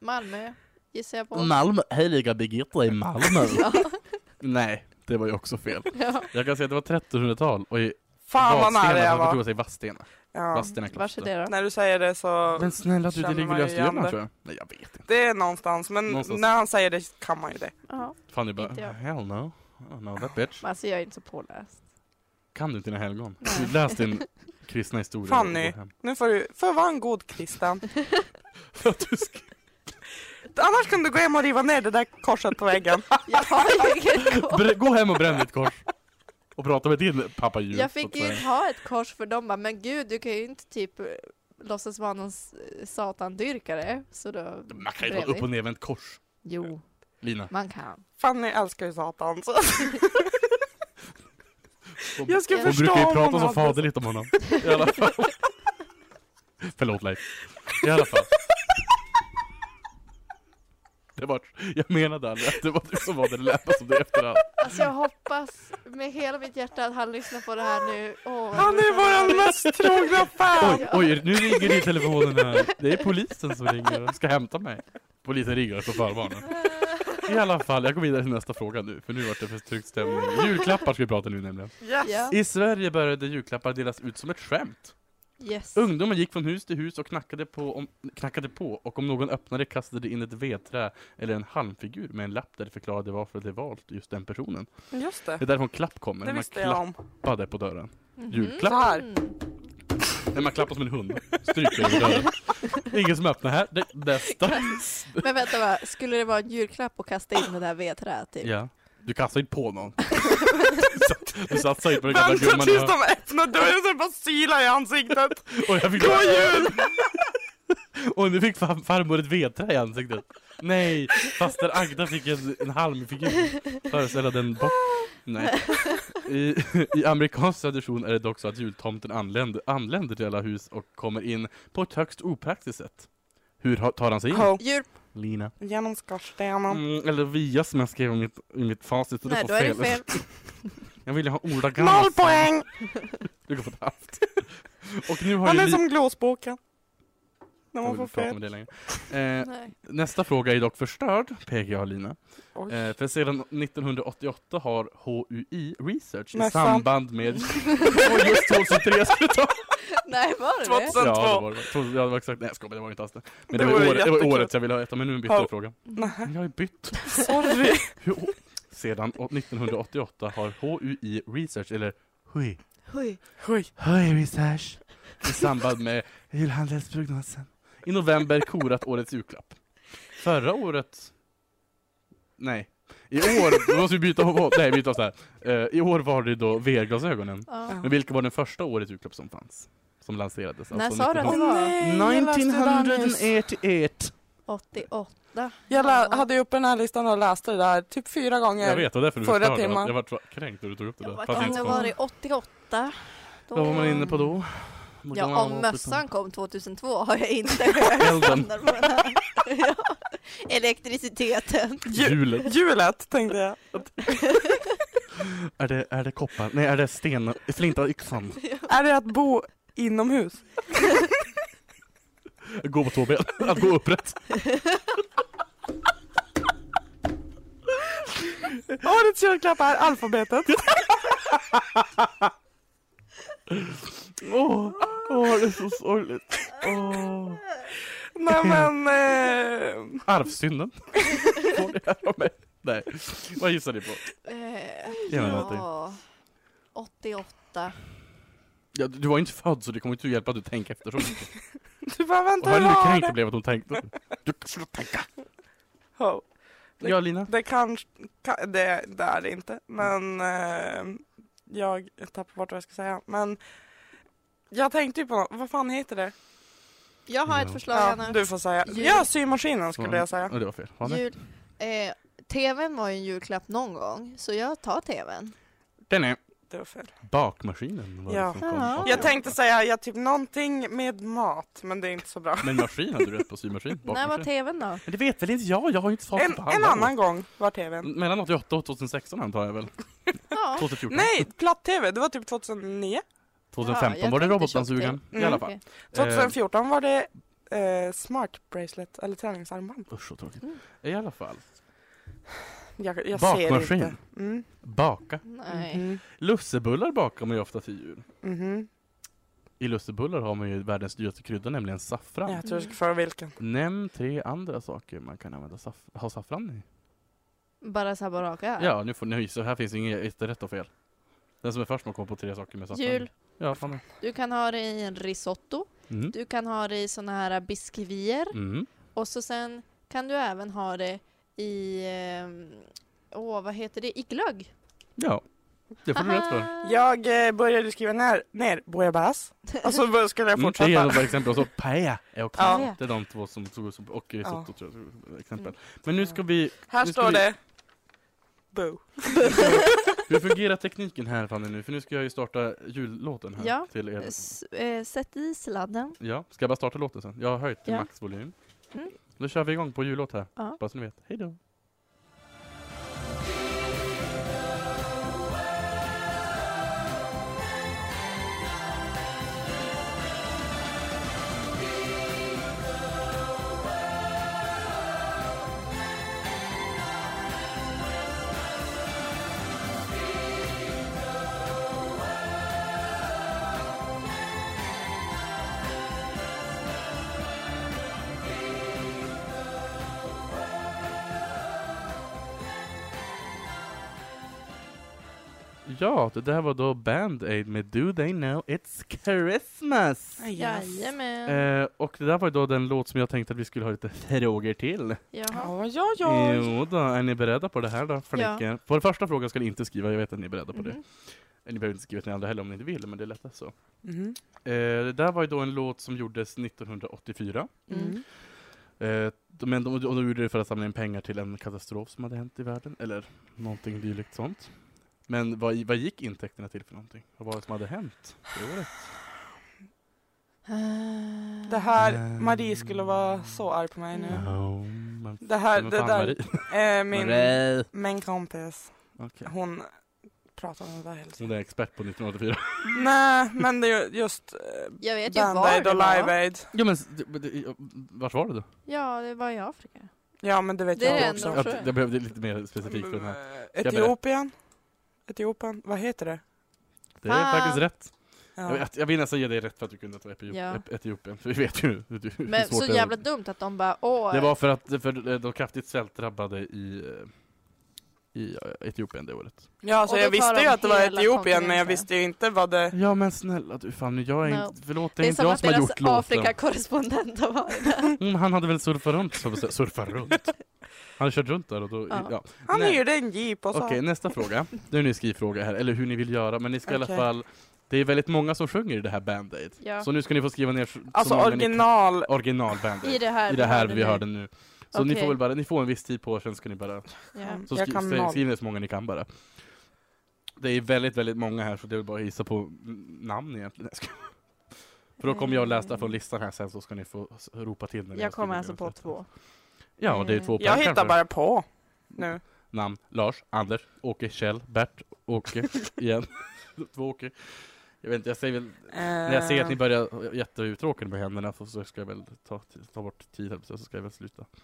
D: Malmö gissar jag på.
B: Malmö, heliga Birgitta i Malmö.
D: Ja, (laughs)
B: Nej, det var ju också fel.
D: ja.
B: Jag kan säga att det var 1300-tal och i
C: Fan vad nära
B: Vadstena
C: jag
B: så man
C: var.
B: förtog sig i Vadstena.
C: Ja.
B: Vadstena kloster.
D: Vars är det då?
C: När du säger det så...
B: Men snälla du, det
C: Känner
B: ligger
C: man
B: i
C: ju
B: Östergötland
C: igen
B: tror jag. Nej, jag vet inte.
C: Det är någonstans, men
B: Någonstans.
C: när han säger det kan man ju det.
D: Ja.
B: Fan du
D: Inte jag.
B: bara, hell no. Oh, no that bitch.
D: men Alltså jag är inte så påläst.
B: Kan du inte dina helgon?
D: Nej.
B: Du läs din kristna historia.
C: Fanny.
B: och gå hem.
C: Nu får du... För att vara en god kristen.
B: (laughs) För att du ska-
C: Annars kan du gå hem och riva ner det där korset på väggen. (laughs)
D: Jag har ju inget kors.
B: Br- Gå hem och bränn ditt kors. Och prata med din pappa djur.
D: Jag
B: så att
D: fick ju
B: säga.
D: inte ha ett kors för dem bara, men gud du kan ju inte typ eh, låtsas vara någon s- eh, satandyrkare. Så då...
B: Man kan ju ta
D: bredvid.
B: upp och ner med ett kors.
D: Jo,
B: Lina.
D: man kan.
C: Fanny älskar ju Satan. Så
B: Hon,
C: jag ska
D: Hon
B: hon
C: förstå
B: brukar ju
C: om
B: prata
C: hon
B: så
C: hade-
B: faderligt om honom. I alla fall. (laughs) Förlåt Leif. I alla fall. Det var, jag menade aldrig att det var du som var det. Det lät som det i efterhand.
D: Alltså jag hoppas med hela mitt hjärta att han lyssnar på det här nu. Åh,
C: Han är våran mest trogna fan!
B: Oj, oj, nu ringer det i telefonen här. Det är polisen som ringer och ska hämta mig. Polisen ringer på förvarningen. I alla fall, jag går vidare till nästa fråga nu, för nu vart det för tryckt stämning. Julklappar ska vi prata nu nämligen.
C: Yes.
D: Ja,
B: I Sverige började julklappar delas ut som ett skämt.
D: yes.
B: Ungdomar gick från hus till hus och knackade på, om, knackade på och om någon öppnade kastade de in ett vedträ eller en halmfigur med en lapp där det förklarade varför de valt just den personen.
C: Just det.
B: Det är därifrån klapp kommer,
C: Det
B: när man
C: visste jag om.
B: klappade på dörren.
D: Mhm.
B: Julklapp.
C: Så här.
D: Mm.
B: När man klappar som en hund, stryker över dörren. Det är ingen som öppnar här, det nästa.
D: Men vänta bara, skulle det vara en julklapp att kasta in det där vedträt typ?
B: Ja. Du kastar inte på
D: (laughs)
B: någon. du satsar inte på den gamla
C: Vänta
B: gumman.
C: tills
B: Ja.
C: de öppnar dörren så bara sylar i ansiktet.
B: Oj, jag fick
C: God jul!
B: (laughs) Och nu fick far- farmor ett vedträ i ansiktet. Nej, faster Agda fick en, en halmfigur. Föreställa den bock. Nej. I, I amerikansk tradition är det dock så att jultomten anländer, anländer till alla hus och kommer in på ett högst opraktiskt sätt. Hur ha- tar han sig in?
C: Ho,
D: Djur,
B: Lina.
C: genom skorstenen.
B: Mm, eller via som jag skrev i mitt, i mitt facit. Och
D: nej
B: du
D: då
B: får
D: är det
B: fel.
D: fel.
B: (laughs) Jag ville ha ordagrant.
C: Noll poäng!
B: Du kan få ett halvt. (laughs) Och nu har
C: Han
B: ju
C: är
B: li-
C: som glåsboken. När
B: Jag
C: man
B: vill
C: får
B: inte prata om
C: fel.
B: det längre. Eh,
D: Nej.
B: nästa fråga är dock förstörd, pekar jag och Lina.
C: Oj.
B: Eh, för sedan 1988 har HUI Research i
C: Nästan.
B: samband med...
C: (laughs)
B: Det var just 2003 skulle jag ta.
D: nej, var det det?
C: 2002.
B: Ja, det var det. Tro- Ja, det var exakt. Nej, jag skojar, det var inte alls det. Men det, var,
C: Det var
B: ju året, det var
C: jättekul.
B: året jag ville ha ett, men nu bytte jag
C: Ja.
B: fråga.
C: Nej,
B: Jag är bytt.
C: sorry.
B: Hur- å- Sedan 1988 har HUI Research, eller HUI,
D: Oj.
C: Oj.
B: HUI Research, i samband med julhandelsprognosen, i november korat årets julklapp. Förra året... Nej. I år, då måste vi byta h- Nej, vi tar så här. Eh, I år var det då VR-glasögonen.
D: Ja.
B: Men vilka var den första årets julklapp som fanns? Som lanserades? alltså
D: När sa du att det
C: Åh
D: var?
C: nej, jag läste det där nyss.
B: 1988!
D: 88.
C: Jag lä-
D: Ja.
C: hade ju upp den här listan och läste det där typ fyra gånger.
B: Jag vet, och därför du
C: Förra
B: förstörde.
C: timman.
B: Jag var kränkt när du tog upp det där.
D: Vad
B: Fast
D: kan
B: inte
D: det
B: så
D: vara i 88? Då...
B: Vad var man inne på då?
D: Ja, om mössan kom 2002 har jag
B: (laughs)
D: inte
B: Elden.
D: standard på den här. (laughs) ja.
B: (laughs)
D: Elektriciteten.
C: Ju-
B: Hjulet.
C: Hjulet tänkte jag.
B: Är det, är det koppar? Nej, är det sten? Flinta yxan?
C: Är det att bo inomhus?
B: Gå på två ben. Att gå upprätt.
C: Årets julklapp är
B: (laughs)
C: alfabetet.
B: Åh, åh, det är så sorgligt. Åh.
C: Nej men... Eh,
B: Arvsynden. Får det här av mig? Nej. Vad gissar ni på?
D: Eh,
B: Ge mig någonting.
D: 88.
B: Ja, du var ju inte född så det kommer inte hjälpa att du tänker efter så mycket.
C: du bara
B: Och
C: vänta
B: hör
C: hur
B: ni hur
C: var
B: kränkt det
C: det?
B: blev att hon tänkte? Du, sluta tänka!
C: Ho.
B: Ja, Lina?
C: Det kanske... Ka, det, det är det inte. Men... Eh, jag tappar bort vad jag ska säga. Men... Jag tänkte ju på något. Vad fan heter det?
D: Jag har
B: Ja.
D: ett förslag
C: Ja,
D: Anna.
C: du får säga.
D: Jul.
C: Ja, symaskinen skulle jag säga.
B: Ja, det var fel. Vad är
D: Jul. Eh, TVn var ju en julklapp någon gång, så jag tar TVn.
B: Den är
C: Det var fel.
B: bakmaskinen. Var
C: Ja.
B: det som kom.
D: Ja.
C: Jag tänkte säga ja, typ någonting med mat, men det är inte så bra.
B: Men maskin hade du rätt på, symaskin.
D: När var
B: bakmaskin.
D: TVn då?
B: Men det vet väl inte jag? Jag har ju inte facit
C: En,
B: på hand.
C: en annan gång var tvn.
B: Mellan 88 och 2016 antar jag väl?
D: Ja.
B: 2014?
C: Nej, platt-tv. Det var typ 2009.
D: Ja,
B: 2015
D: jag
B: var det
D: tänkte
B: robotdammsugaren.
D: tjock-tv.
B: I alla fall.
D: Mm, Okej.
C: 2014 var det eh, smart bracelet, eller träningsarmband.
B: Eh, usch så tråkigt.
D: Mm.
B: I alla fall.
C: Jag, jag ser
B: Bakmaskin.
C: inte. Mm.
B: Baka.
D: Nej.
C: Mhm.
B: Lussebullar bakar man ju ofta till jul.
C: Mhm.
B: I lussebullar har man ju världens dyraste krydda, nämligen saffran.
C: Jag tror jag ska fråga vilken.
B: Nämn tre andra saker man kan använda saff- ha saffran i.
D: Bara så här bara raka.
B: Ja, nu får ni gissa. Här finns inget rätt och fel. Den som är först med att komma på tre saker med saffran.
D: Jul.
B: Ja, fan.
D: Du kan ha det i en risotto,
B: Mm.
D: du kan ha det i såna här biskvier
B: Mm.
D: och så sen kan du även ha det i, ehm, åh vad heter det, i glögg.
B: Ja, det får du rätt för.
D: Haha.
C: Jag eh, började skriva ner, ner bouillabaisse, och så bör- skulle jag
B: Mm,
C: fortsätta.
B: Det är ett bra exempel, och så paella är också
D: Ja. Mm.
B: Det är de två som tog oss upp, och risotto
C: Ja.
B: tror jag, som exempel. Men nu ska vi,
C: Här
B: Nu ska
C: står
B: vi-
C: det Boo.
B: hur fungerar tekniken här Fanny nu? För nu ska jag ju starta jullåten här
D: Ja.
B: till er.
D: S- eh, Sätt i sladden.
B: Ja, ska jag bara starta låten sen? Jag har höjt till
D: Ja.
B: maxvolym.
D: Mm.
B: Då kör vi igång på jullåt här,
D: Ja.
B: bara så ni vet. Hej då! Ja, det där var då Band-Aid med Do They Know It's Christmas!
D: Jajamän.
B: Eh, och det där var ju då den låt som jag tänkte att vi skulle ha lite frågor till.
D: Jaha.
C: Ja, ja, ja.
B: Jo då, är ni beredda på det här då? Flickor? På den första frågan ska ni inte skriva, jag vet att ni är beredda på
D: Mhm.
B: det. Ni behöver inte skriva till den andra heller om ni inte vill, men det är lättast så. Eh,
C: Mm.
B: det där var ju då en låt som gjordes 1984.
C: Mm.
B: Eh, de- men de, och de gjorde det för att samla in pengar till en katastrof som hade hänt i världen, eller någonting dylikt sånt. Men vad, vad gick intäkterna till för någonting? Vad var det som hade hänt det året?
D: Eh,
C: Det här, Marie skulle vara så arg på mig nu.
D: Mm.
B: Ja, men
C: Det här,
B: men
C: det
B: fan,
C: där
B: Marie.
C: är min,
B: Marie.
C: min kompis.
B: Okej. Mm.
C: Hon pratar om det där hela tiden.
B: Hon är expert på (laughs) 1984.
C: Nej, men det är ju just eh,
D: Ah. Jag vet ju var
C: Band-Aid
D: det
C: och
D: var.
C: Live-Aid.
B: Ja men, s- det- men det- vart var det då?
D: Ja, det var i Afrika.
C: Ja, men det vet
D: Det är det
C: jag
D: enda
C: också.
D: de
B: Att,
D: tror jag.
B: jag behövde lite mer specifikt för den här.
C: Eh, Etiopien? Etiopien? Vad heter det?
B: Det är
D: Fan.
B: faktiskt rätt. Jag,
C: Ja.
B: vet- jag vill nästan ge dig rätt för att du kunde ta Etiop
D: Ja.
B: Ep- Etiopien, för vi vet ju hur, hur
D: Men
B: svårt
D: så
B: det är.
D: jävla dumt att de bara åh.
B: Det var för att för de kraftigt svältdrabbade i, eh, i eh, Etiopien det året.
C: ja, så
D: Och då
C: jag
D: tar
C: visste ju
D: de
C: att det var
D: hela
C: Etiopien, men jag
D: kontinenten.
C: visste ju inte vad det...
B: Ja men snälla du, fan nu, jag är
D: No.
B: inte, förlåt det är
D: det är
B: inte
D: som
B: jag
D: att
B: som har
D: deras
B: gjort låten.
D: Afrikakorrespondent har varit där.
B: Mm, han hade väl surfat runt, så att säga. surfa runt. Han har kört runt där och då,
D: Ja.
B: ja.
C: Han
B: Nej.
C: hyrde en jeep och så.
B: Okej, nästa fråga. Nu är det en skrivfråga här, eller hur ni vill göra, men ni ska i alla
C: Okej.
B: fall Det är väldigt många som sjunger i det här Band-Aid.
D: Ja.
B: Så nu ska ni få skriva ner så
C: Alltså
B: många ni kan-
C: original.
B: original Band-Aid.
D: I det här,
B: I det här
D: hörde
B: vi
D: nu.
B: hörde nu. Så ni får
D: Okej.
B: väl bara, ni får en viss tid på er, sen ska ni bara
D: Ja.
B: Så
C: Jag
B: skri
C: kan
B: säg-
C: noll.
B: skriv ner så många ni kan bara. Det är väldigt, väldigt många här så det är väl bara att gissa på mm, namn egentligen. Jag skojar. För då kommer jag läsa
C: Eh.
B: från listan här sen så ska ni få s- ropa till när ni har
D: Jag kommer
B: skrivit
D: alltså
B: ner
D: på
B: rätt.
D: två.
B: Ja, och det är två poäng
C: Eh. Jag hittar
B: kanske.
C: bara på. Nu.
B: Namn Lars, Anders, Åke, Kjell, Bert,
C: (laughs)
B: Åke igen. två Åke. Jag vet inte, jag säger väl när jag ser
C: Eh.
B: att ni börjar jätteuttråkade med händerna så, så ska jag väl ta, ta bort tid här, så ska jag väl sluta. (laughs)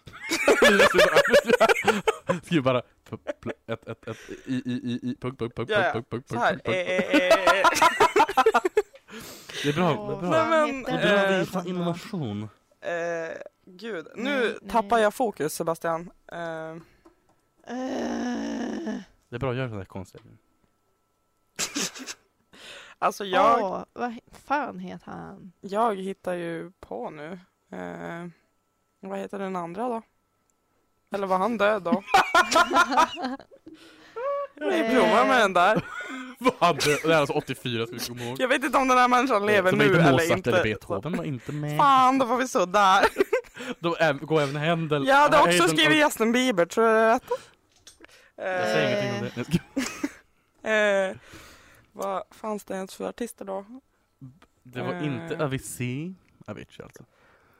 B: Skriv bara p- pl- ett, ett, ett, i, i, i, i, punkt, punkt, punkt,
C: Ja, ja.
B: punkt, punkt, punkt,
C: Så här. eh,
B: punkt, punkt. Det är bra, det är
D: Åh,
B: bra.
C: Nej,
D: vad
C: men,
B: Det
D: heter
B: är
D: den?
B: bra att
C: eh,
B: visa innovation.
C: Eh, eh, Gud,
D: Nej,
C: nu
D: nej.
C: tappar jag fokus Sebastian. Eh,
D: Eh,
B: Det är bra att göra sådana här konstiga
C: (laughs) alltså jag,
D: Åh, vad he- fan heter han?
C: jag hittar ju på nu. Eh, vad heter den andra då? Eller var han död då? Vi
D: Eh,
C: provar med den där.
B: Vad? Det här är alltså 84 ska vi komma ihåg.
C: Jag vet inte om den här människan lever
B: Som
C: nu
B: inte
C: eller
B: Mozart
C: inte.
B: eller Beethoven var inte
C: Så-
B: med.
C: Fan, då får vi så där.
B: Då är- går även Händel.
C: Jag hade också
B: Hayden och-
C: skrivit Justin Bieber, tror du det är rätt?
B: Jag
C: Eh,
B: säger ingenting om det. Jag ska-
C: Eh, vad fanns det ens för artister då?
B: Det var
C: Eh.
B: inte Avicii. Avicii alltså.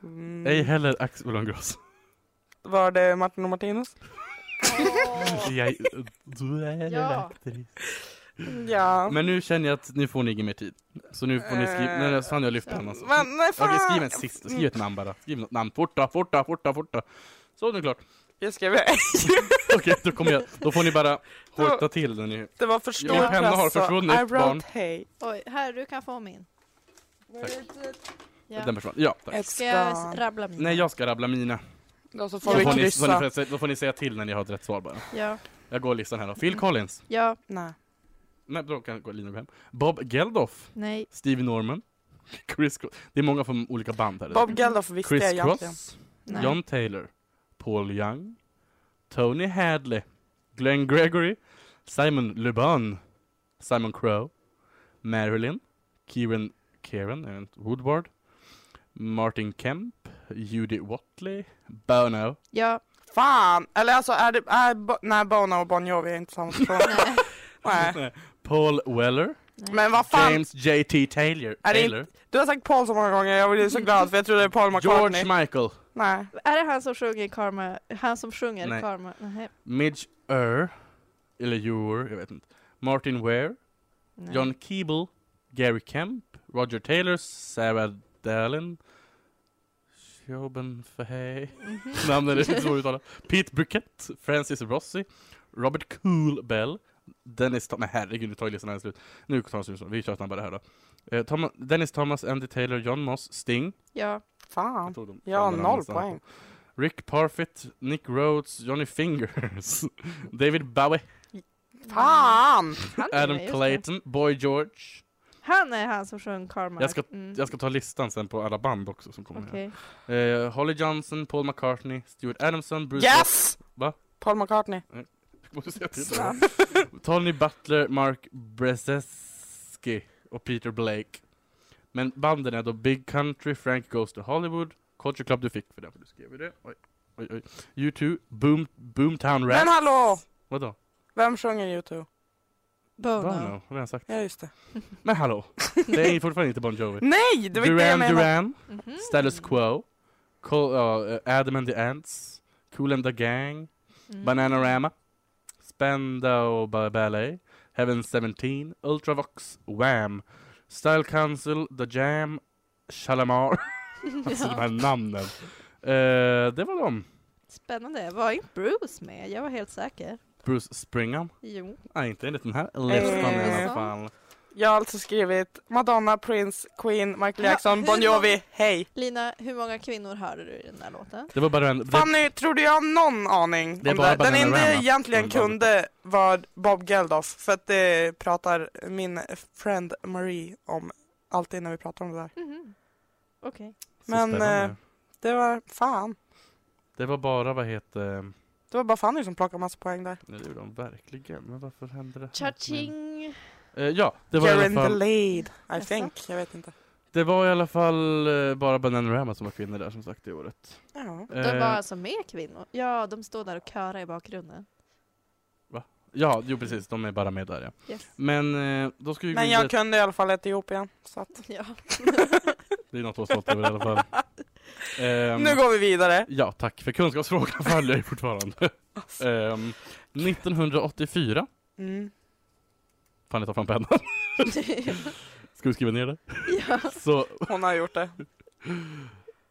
C: Mm.
B: Ej heller Axel Ohlongross.
C: Var det Martin och Martinus?
B: Jag, du är en
D: Ja.
B: aktriss.
D: Mm.
C: Ja.
B: Men nu känner jag att nu får ni inget mer tid. Så nu får ni skriva,
C: Eh,
B: nej nej, fan jag lyfter henne alltså.
C: Men nej fan!
B: Okej skriv ett sista, skriv ett namn bara. Skriv något namn, fort då, fort då, fort då, fort då. Så nu är det klart.
C: Jag skrev ej.
B: Okej då kommer jag, då får ni bara hojta till när ni...
C: Det var för stor
B: Min penna har
C: press, så
B: försvunnit,
C: I wrote
B: barn.
C: hey.
D: Oj, här du kan få min.
B: Tack. Den
D: Ja.
B: personen, ja tack.
D: Ska jag s- rabbla mina?
B: Nej jag ska rabbla mina.
C: Då så får
B: Då
C: vi
B: får, ni, så ni
C: kryssa.
B: får, då får ni säga till när ni har ett rätt svar bara.
D: Ja.
B: Jag går listan här då. Phil Collins.
D: ja,
C: Nej.
B: Nej då kan gå- Lina gå hem. Bob Geldof.
D: nej,
B: Stevie Norman. Chris Cross. Det är många från olika band här.
C: Bob Geldof visste
B: Chris
C: jag egentligen.
B: Cross.
D: nej.
B: John Taylor, Paul Young, Tony Hadley, Glenn Gregory, Simon Le Bon, Simon Crow, Marilyn, Kieran, Kieran jag vet inte, Woodward, Martin Kemp, Judy Watley, Bono.
D: Ja,
C: Fan! Eller alltså är det... Är, Bo- nej, Bono och Bon Jovi är inte samma person.
D: (laughs) nej,
C: nej.
B: (laughs) Paul Weller,
D: nej.
C: Men vad fan!
B: James J.T. Taylor,
C: Är det
B: Taylor
C: Du har sagt Paul så många gånger, jag blir så glad för jag trodde det var Paul McCartney.
B: George Michael,
C: Nej.
D: Är det han som sjunger Karma? Han som sjunger
B: Nej.
D: Karma? Nej.
B: Midge Ur, eller Ur, jag vet inte, Martin Ware,
D: Nej.
B: John Keeble, Gary Kemp, Roger Taylor, Sarah Dallin, Shoben Fahey,
D: Mhm.
B: (laughs) namnen är lite svåra att uttala, Pete Burkett, Francis Rossi, Robert Cool Bell, Dennis Thomas, men herregud nu tar ju listan här slut. Nu tar vi slut, vi kör snabbare här då. Eh, Thomas, Dennis Thomas, Andy Taylor, John Moss, Sting.
D: Ja.
C: Fan.
B: Jag tog dem.
C: Jag har
B: Fan, alltså. den
C: noll
B: andra stannar.
C: poäng.
B: (laughs) Rick Parfitt, Nick Rhodes, Johnny Fingers, David Bowie,
C: Fan!
D: Han är
B: Adam
D: med, just det.
B: Clayton, Boy George.
D: Han är han som sjöng Karma.
B: Jag ska-
D: mm.
B: Jag ska ta listan sen på alla band också som kommer
D: Okej.
B: här. Eh, Holly Johnson, Paul McCartney, Stuart Adamson, Bruce
C: Yes!
B: Va?
C: Paul McCartney.
B: (laughs) Rock- Måste säga till det. (laughs) Tony Butler, Mark Brzezinski och Peter Blake. Men banden är då Big Country, Frank Goes to Hollywood, Culture Club du fick för den, för du skrev ju det. Oj, oj, oj. U2, Boom, Boomtown Rap.
C: Men hallå!
B: Vadå?
C: Vem sjunger U2? Oh,
D: Bono.
B: Bono, har jag sagt.
C: Ja just det.
B: Men
C: (laughs)
B: hallå! Det är fortfarande inte Bon Jovi.
C: Nej! Det var inte det
B: Duran
C: jag menade. Mm.
B: Duran,
D: Mhm.
B: Status Quo, Col- ja, eh, Adam and the Ants, Cool and the Gang,
D: Mm. (laughs)
B: Bananarama, Spandau Ba- Ballet, Heaven 17, Ultravox, Wham, Style Council, The Jam, Shalamar. (laughs) alltså de här namnen. Eh, det var de.
D: Spännande. Var inte Bruce med? Jag var helt säker.
B: Bruce Springham.
D: Jo.
B: Nej, inte enligt den här
D: Eh,
B: listan i alla fall.
C: Jag har alltså skrivit Madonna, Prince, Queen, Michael
D: Ja,
C: Jackson,
D: hur
C: Bon Jovi, hej!
D: Lina, hur många kvinnor hörde du i den där låten?
B: Det var bara en... Det,
C: Fanny, trodde jag har någon aning
B: Det är
C: om
B: bara
C: det? Den
B: Banana
C: enda jag
B: Rama.
C: egentligen
B: Banana.
C: kunde var Bob Geldof, för att det pratar min friend Marie om alltid när vi pratar om det där.
D: Mhm. Okej.
B: så
C: men,
B: spännande.
C: eh, Det var fan,
B: det var bara, vad heter...
C: det var bara Fanny som plockade massa poäng där.
B: Nej, det gjorde de verkligen. Men varför hände det här?
D: Cha-ching!
B: Eh, ja, det var i
C: You're
B: alla
C: in the
B: fall...
C: lead, I
D: Jaså?
C: think. Jag vet inte.
B: Det var i alla fall eh, bara Bananarama som var kvinnor där som sagt i året.
C: Ja.
D: De var
B: Eh,
D: alltså med kvinnor? Ja, de står där och körar i bakgrunden.
B: Ja, jo precis, de är bara med där ja.
D: Yes.
B: Men eh, då ska vi gå
C: Men
B: vidare.
C: jag kunde i alla fall Etiopien. Så att.
D: (laughs) Ja.
B: Det är något att vara stolt över i
C: (laughs)
B: alla fall. Ehm,
C: Nu går vi vidare.
B: Ja, tack för kunskapsfrågan följer jag
C: (laughs)
B: fortfarande.
C: Alltså.
B: Ehm, 1984.
C: Mm.
B: Fan, jag tar fram pennan. (laughs) Ska du skriva ner det?
D: (laughs) ja.
B: Så,
C: Hon har gjort det.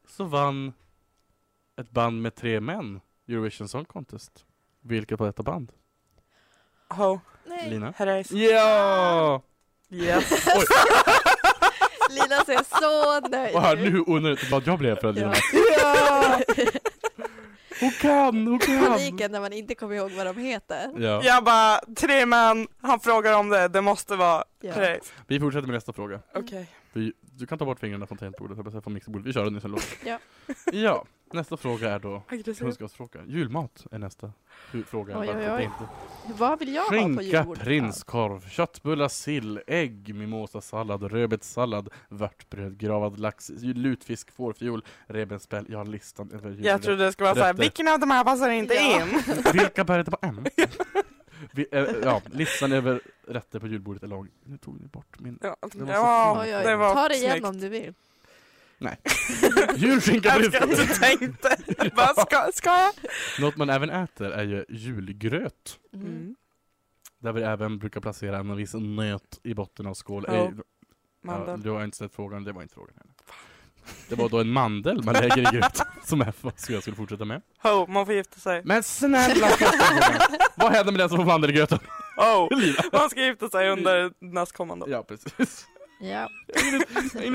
B: så vann ett band med tre män Eurovision Song Contest. Vilket var detta band?
C: Ho,
D: Nej. (laughs)
B: Lina?
C: Herreys.
B: Ja! Mm.
C: Yes.
B: Oj,
D: Lina ser så nöjd
B: vad här,
D: ut.
B: nu onödigt glad jag blev för att Lina
D: (laughs) Ja.
C: Ja.
B: Hon
C: (laughs)
B: kan, hon kan!
D: Paniken när man inte kommer ihåg vad de heter.
B: Ja.
C: Jag bara, tre män, han frågar om det, det måste vara
D: Ja. Mm.
C: Herreys.
B: Vi fortsätter med nästa fråga.
C: Okej.
B: Vi, du kan ta bort fingrarna från tangentbordet, jag bara från mixerbordet. Vi kör den nu sen låter
D: (laughs) Ja.
B: (laughs) ja, nästa fråga är då
C: Aggressiv.
B: kunskapsfråga. Julmat är nästa hu- fråga.
D: Oj,
B: Varför
D: oj, oj.
B: det inte-
D: Vad vill jag ha på
B: Skinka,
D: julbord?
B: prinskorv, köttbullar, sill, ägg, mimosasallad, rödbetssallad, vörtbröd, gravad lax, lutfisk, fårfjol, revbensspjäll. Jag har listan över
C: Jag
B: julrätter.
C: trodde det skulle vara såhär,
B: Rätter.
C: vilken av de här passar inte
D: Ja.
C: in?
B: (laughs) Vilka bär heter på M? Vi, eh, ja, listan över rätter på julbordet är lång. Nu tog ni bort min...
C: Ja,
B: var så
C: ja,
B: fint.
D: Oj, oj.
C: det var
D: Ta det igen
C: snyggt.
D: om du vill.
C: (laughs)
B: Julskinka,
C: Jag älskar
B: prinskorv!
C: att du
B: (laughs)
C: tänkte, bara, ska, ska jag?
B: Något man även äter är ju julgröt.
D: Mm.
B: Där vi även brukar placera en viss nöt i botten av skålen.
C: Ja,
B: Eh, ja,
C: Mandel.
B: du har inte sett frågan, det var inte frågan heller. Det var då en mandel man lägger i gröten (laughs) som är vad jag skulle fortsätta med.
C: Ho, man får gifta sig.
B: Men snälla frågan. Vad händer med den som får mandel i
C: (laughs)
B: gröten?
C: Oh,
B: Lina.
C: man ska gifta sig under
B: (laughs)
C: nästkommande.
B: Ja precis.
D: Ja.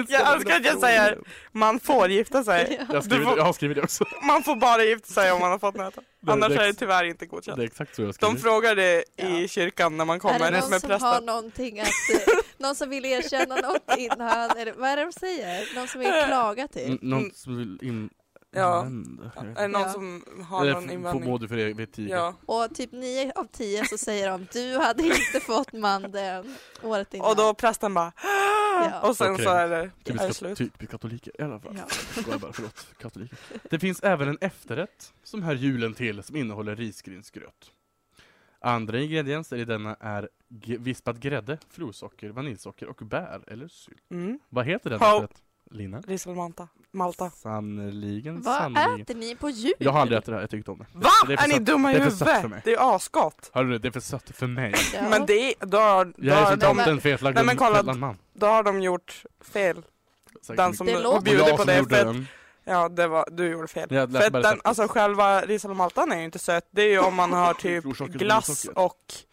C: Jag önskar att jag säger, man får gifta
D: (laughs)
C: sig.
B: Jag har skrivit, jag har skrivit det också.
C: Man får bara gifta sig om man har fått nöta.
B: Det-
C: Annars
B: det-
C: är det tyvärr inte
B: Det är
C: godkänt.
B: exakt så jag har
C: De
B: skrivit.
C: frågar det i kyrkan när man
D: Är
C: kommer
D: det
C: med
D: någon som har
C: prästen.
D: någonting att, eh, någon som vill erkänna något innan? Eller, vad är det de säger? Någon som vill klaga typ?
B: N-
C: Mm.
D: till?
B: någon som vill in... Eh,
C: Ja.
B: invända. Jag vet
C: Är det någon
D: Ja.
C: som har
B: Eller
C: någon
B: f-
C: invändning?
B: Må du för evigt tiga.
C: Ja.
D: Och typ nio av tio så säger de du hade inte fått mandeln året innan.
C: Och då prästen bara
D: Ja.
C: Och sen
B: Okej.
C: så är det, är det
B: Typiskt kat-
C: slut.
B: typiskt katoliker i alla fall.
D: Ja.
B: Skojar bara, förlåt. Katoliker. Det finns även en efterrätt som hör julen till som innehåller risgrynsgröt. Andra ingredienser i denna är g- vispad grädde, florsocker, vaniljsocker och bär eller sylt.
C: Mm.
B: Vad heter den
C: Ho.
B: efterrätt? Lina?
C: Ris eller Malta. Malta.
B: Sannerligen,
D: Vad
B: sannerligen.
D: äter ni på jul?
B: Jag har aldrig ätit det här, jag tyckte om det.
C: Va?
B: Det är
C: Är,
B: för
C: ni
B: sött-
C: dumma i
B: det är för sött för
C: huvudet?
B: mig.
C: det är ju asgott.
B: Hörru du, det är för sött för mig.
D: Ja.
C: Men det är, då, har- då,
B: Jag är
C: har
B: som
D: de-
B: tomten fetlagd
C: Nej, men kolla-
B: mellan man.
C: då har de gjort fel.
B: Säkert
C: Den
B: mycket.
C: som
D: Det
C: och
D: låter-
B: Och jag
C: bjuder på
B: som
C: det.
B: gjorde
C: För att,
B: den.
C: ja, det var, du gjorde fel.
B: Jag lät
C: För att
B: bara
C: den,
B: sätta-
C: alltså själva ris eller Maltan är ju inte söt. Det är ju om
B: (laughs)
C: man har typ
B: Florsocker,
C: glass
B: florsocker.
C: och
B: Ja,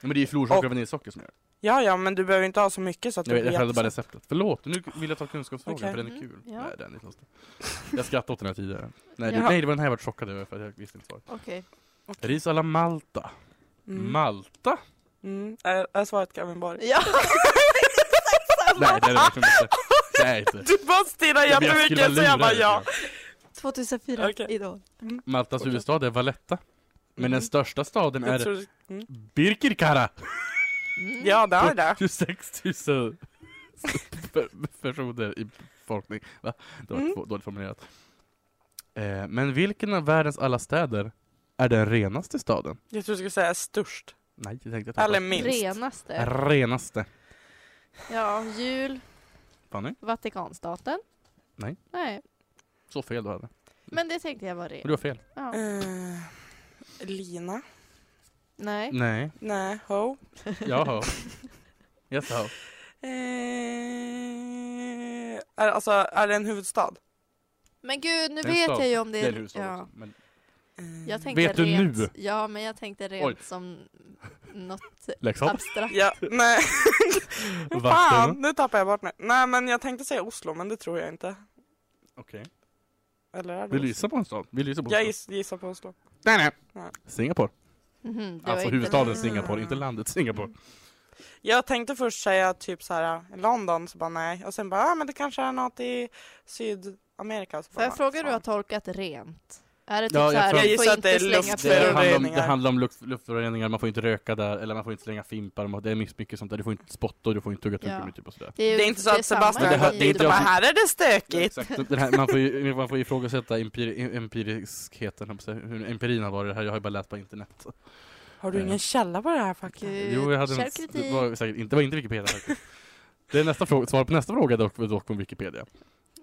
B: Men det är ju florsocker
C: och-
B: och vaniljsocker som gör det.
C: Ja, ja, men du behöver inte ha så mycket så att
B: Jag,
C: det
B: vet, jag
C: blir
B: följde bara
C: jättesött.
B: receptet. Förlåt, nu vill jag ta kunskapsfrågan
C: Okej.
B: för den är
D: Mm,
B: kul.
D: ja.
B: Nej, den är konstig. Jag skrattade åt den här tidigare. Nej, det,
C: Ja.
B: nej, det var den här jag var chockad över för att jag visste inte svaret.
D: Okej.
B: Ris alla Malta.
C: Mm. (laughs)
B: Malta
C: Mm. Är, är svaret
D: (laughs)
C: Gavenborg?
D: Ja! Exakt samma.
B: Nej, det är det verkligen inte. Det är
C: (laughs)
B: inte.
C: Du bara stirrar
B: Jag blir- jag skulle
C: jättemycket så jag bara
B: lurad,
C: ja.
D: 2004,
C: Okej.
D: Idol.
B: Maltas huvudstad är Valletta. Men den största staden
C: Mm. Jag
B: är
C: tror, mm.
B: Birkirkara. (laughs)
D: Mm.
C: Ja, det är det.
B: 26 000 per- (laughs) personer i befolkning. Va? Det var
C: Mm.
B: två- dåligt formulerat. Eh, men vilken av världens alla städer är den renaste staden?
C: Jag tror du skulle säga störst.
B: Nej, det tänkte jag ta
C: Eller
B: först.
C: minst.
D: Renaste.
B: Renaste.
D: Ja, jul,
B: Fanny?
D: Vatikanstaten.
B: Nej.
D: Nej,
B: Så fel du hade.
D: men det tänkte jag var
B: Men du
D: ren.
B: har fel.
D: Ja.
C: Eh, Lina? Mm.
D: Nej.
B: Nej.
C: Nej, ho.
B: Jaha. Yes,
C: (laughs)
B: jaha.
C: Eh, är, alltså, är det en huvudstad?
D: Men gud, nu
B: Det är en
D: vet
B: stad.
D: jag ju om det
B: Det är en
D: är...
B: huvudstad
D: Ja.
B: också. Men
C: Eh,
B: Mm.
D: Jag tänkte
B: Vet du
D: rent,
B: nu?
D: Ja, men jag tänkte rent
B: Oj.
D: som något
B: Leksand?
D: abstrakt.
C: Ja,
B: (laughs)
C: nej. Fan,
B: Vadstena?
C: nu tappar jag bort mig. Nej, men jag tänkte säga Oslo, men det tror jag inte.
B: Okej.
C: Eller är det
B: Vill du
C: Oslo?
B: gissa på en stad? Vill du gissa på en
C: Jag
B: stad?
C: giss, gissar på Oslo.
B: Nej, nej.
C: Nej.
B: Singapore.
D: Mhm, det var
B: Alltså
D: inte
B: huvudstaden
D: min-
B: Singapore, inte landet Singapore.
C: Jag tänkte först säga typ så här London, så bara nej. Och sen bara, ah, men det kanske är något i Sydamerika. Så
D: Får jag
C: bara,
D: fråga hur du har
C: fan.
D: tolkat rent? Är det typ
B: Mm. Ja, jag
D: så här,
B: tror-
D: man
C: Jag
D: får
C: gissar att
D: inte
C: det är
D: slänga
C: luft-
D: fluor?
B: Det handlar, om, det
C: Föroreningar.
B: handlar om luft, luftföroreningar, man får inte röka där, eller man får inte slänga fimpar, man- det är mycket, mycket sånt där. Du får inte spotta och du får inte tugga tuggummi
D: Ja.
B: typ och sådär.
D: ju-
C: Det är inte så
D: det
C: att
D: samma
C: Sebastian
B: Det här-
C: går
D: i-
B: det är
C: dit
B: inte
C: och bara,
B: jag som-
C: här är det stökigt.
B: Exakt. Det här, man, får ju, man får ju ifrågasätta empiri, empiriskheten, höll jag på att säga. hur empirin har varit det här, jag har ju bara läst på internet.
C: Har du ingen källa på det här faktiskt?
D: Gud,
B: Jo, jag hade en,
D: Käll
B: det
D: kritik.
B: var säkert inte, det var inte Wikipedia faktiskt. Det är nästa fråga, svar på nästa fråga dock, dock på Wikipedia.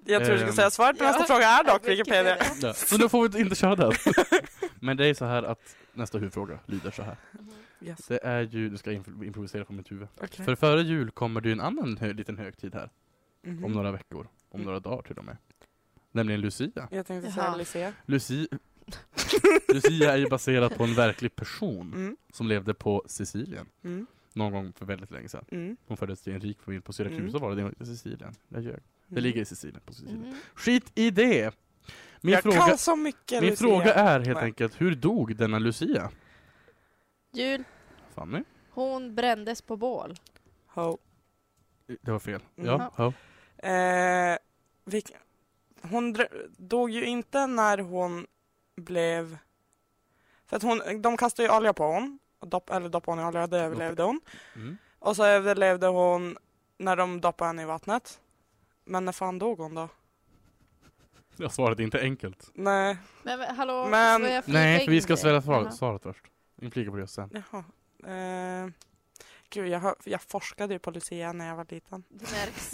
C: Jag tror du
B: Ehm.
C: skulle säga svaret på
D: Ja,
C: nästa fråga är dock
D: (laughs) Ja,
C: Wikipedia.
B: Ja. Så nu får vi inte köra
C: (laughs)
B: den. Men det är så här att nästa huvudfråga lyder så här.
C: Mm-hmm. Yes.
B: Det är ju, du ska imp- improvisera på mitt huvud.
C: Okej.
B: För före jul kommer det ju en annan hö- liten högtid här.
C: Mhm.
B: Mm-hmm. Om några veckor. Om några dagar till och med. Nämligen Lucia.
C: Jag tänkte
D: Jaha.
C: säga Lisea.
B: Lucia, (laughs) Lucia är ju baserad på en verklig person
C: Mm.
B: som levde på Sicilien.
C: Mm.
B: Någon gång för väldigt länge sedan.
C: Mm.
B: Hon föddes till en rik familj på Syrakus.
C: Mm.
B: var det, det var inte Sicilien. Jag ljög. Det
C: Mm.
B: ligger i Sicilien. På Sicilien.
D: Mhm.
B: Skit i det! Min,
C: jag
B: fråga,
C: kan så mycket
B: min
C: Lucia.
B: fråga är helt
C: Nej.
B: enkelt, hur dog denna Lucia?
D: Jul,
B: Fanny?
D: hon brändes på bål.
C: Ho.
B: Det var fel.
C: Mm.
B: Ja, ja.
C: Eh, vilk... Hon drö- dog ju inte när hon blev... För att hon, de kastade ju olja på hon. Och dopp, eller doppade hon i olja, det överlevde hon.
B: Mm.
C: Och så överlevde hon när de doppade henne i vattnet. Men när fan dog hon då?
B: Jag svarade inte enkelt.
C: Nej,
D: Men, men hallå,
C: Men-
D: får jag flika
B: Nej, för vi
D: in
B: ska
D: det?
B: svälja svar
D: Jaha.
B: svaret först. Inflika på det sen.
C: jaha. Eh, gud, jag, hör- jag forskade ju på Lucia när jag var liten.
B: (laughs)
D: Det märks.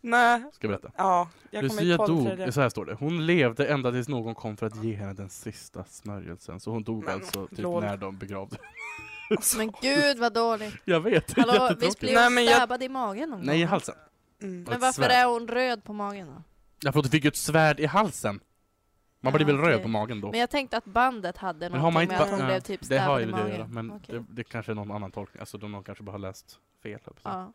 C: Nej,
B: Ska jag berätta.
C: ja. Jag kommer
B: Lucia
C: inte på det
B: dog,
C: tredje.
B: så här står det. Hon levde ända tills någon kom för att ge henne den sista smörjelsen. Så hon dog
C: Men,
B: alltså typ
C: lol.
B: när de begravde. (laughs)
C: Alltså,
D: Men gud vad dåligt.
B: Jag vet, (laughs) det är
D: Hallå, visst
B: jättetråkigt.
D: blir
C: Nej,
D: hon
C: men jag-
D: stabbad i magen någon
B: Nej, i
D: gång?
B: halsen.
C: mm.
D: Men
B: Ett
D: varför
B: svärd.
D: är hon röd på magen då?
B: Därför att du fick ju ett svärd i halsen. Man
D: Ja,
B: blir väl röd
D: okej.
B: på magen då.
D: Men jag tänkte att bandet hade
B: Men har man
D: någonting med
B: inte ba-
D: att hon
B: ja,
D: blev typ
B: det har
D: stabbad
B: ju
D: i
B: med det att göra.
D: magen.
B: Men
D: Okej.
B: det, det kanske är någon annan tolkning. Alltså de någon kanske bara har läst fel. Ja.
D: Ja.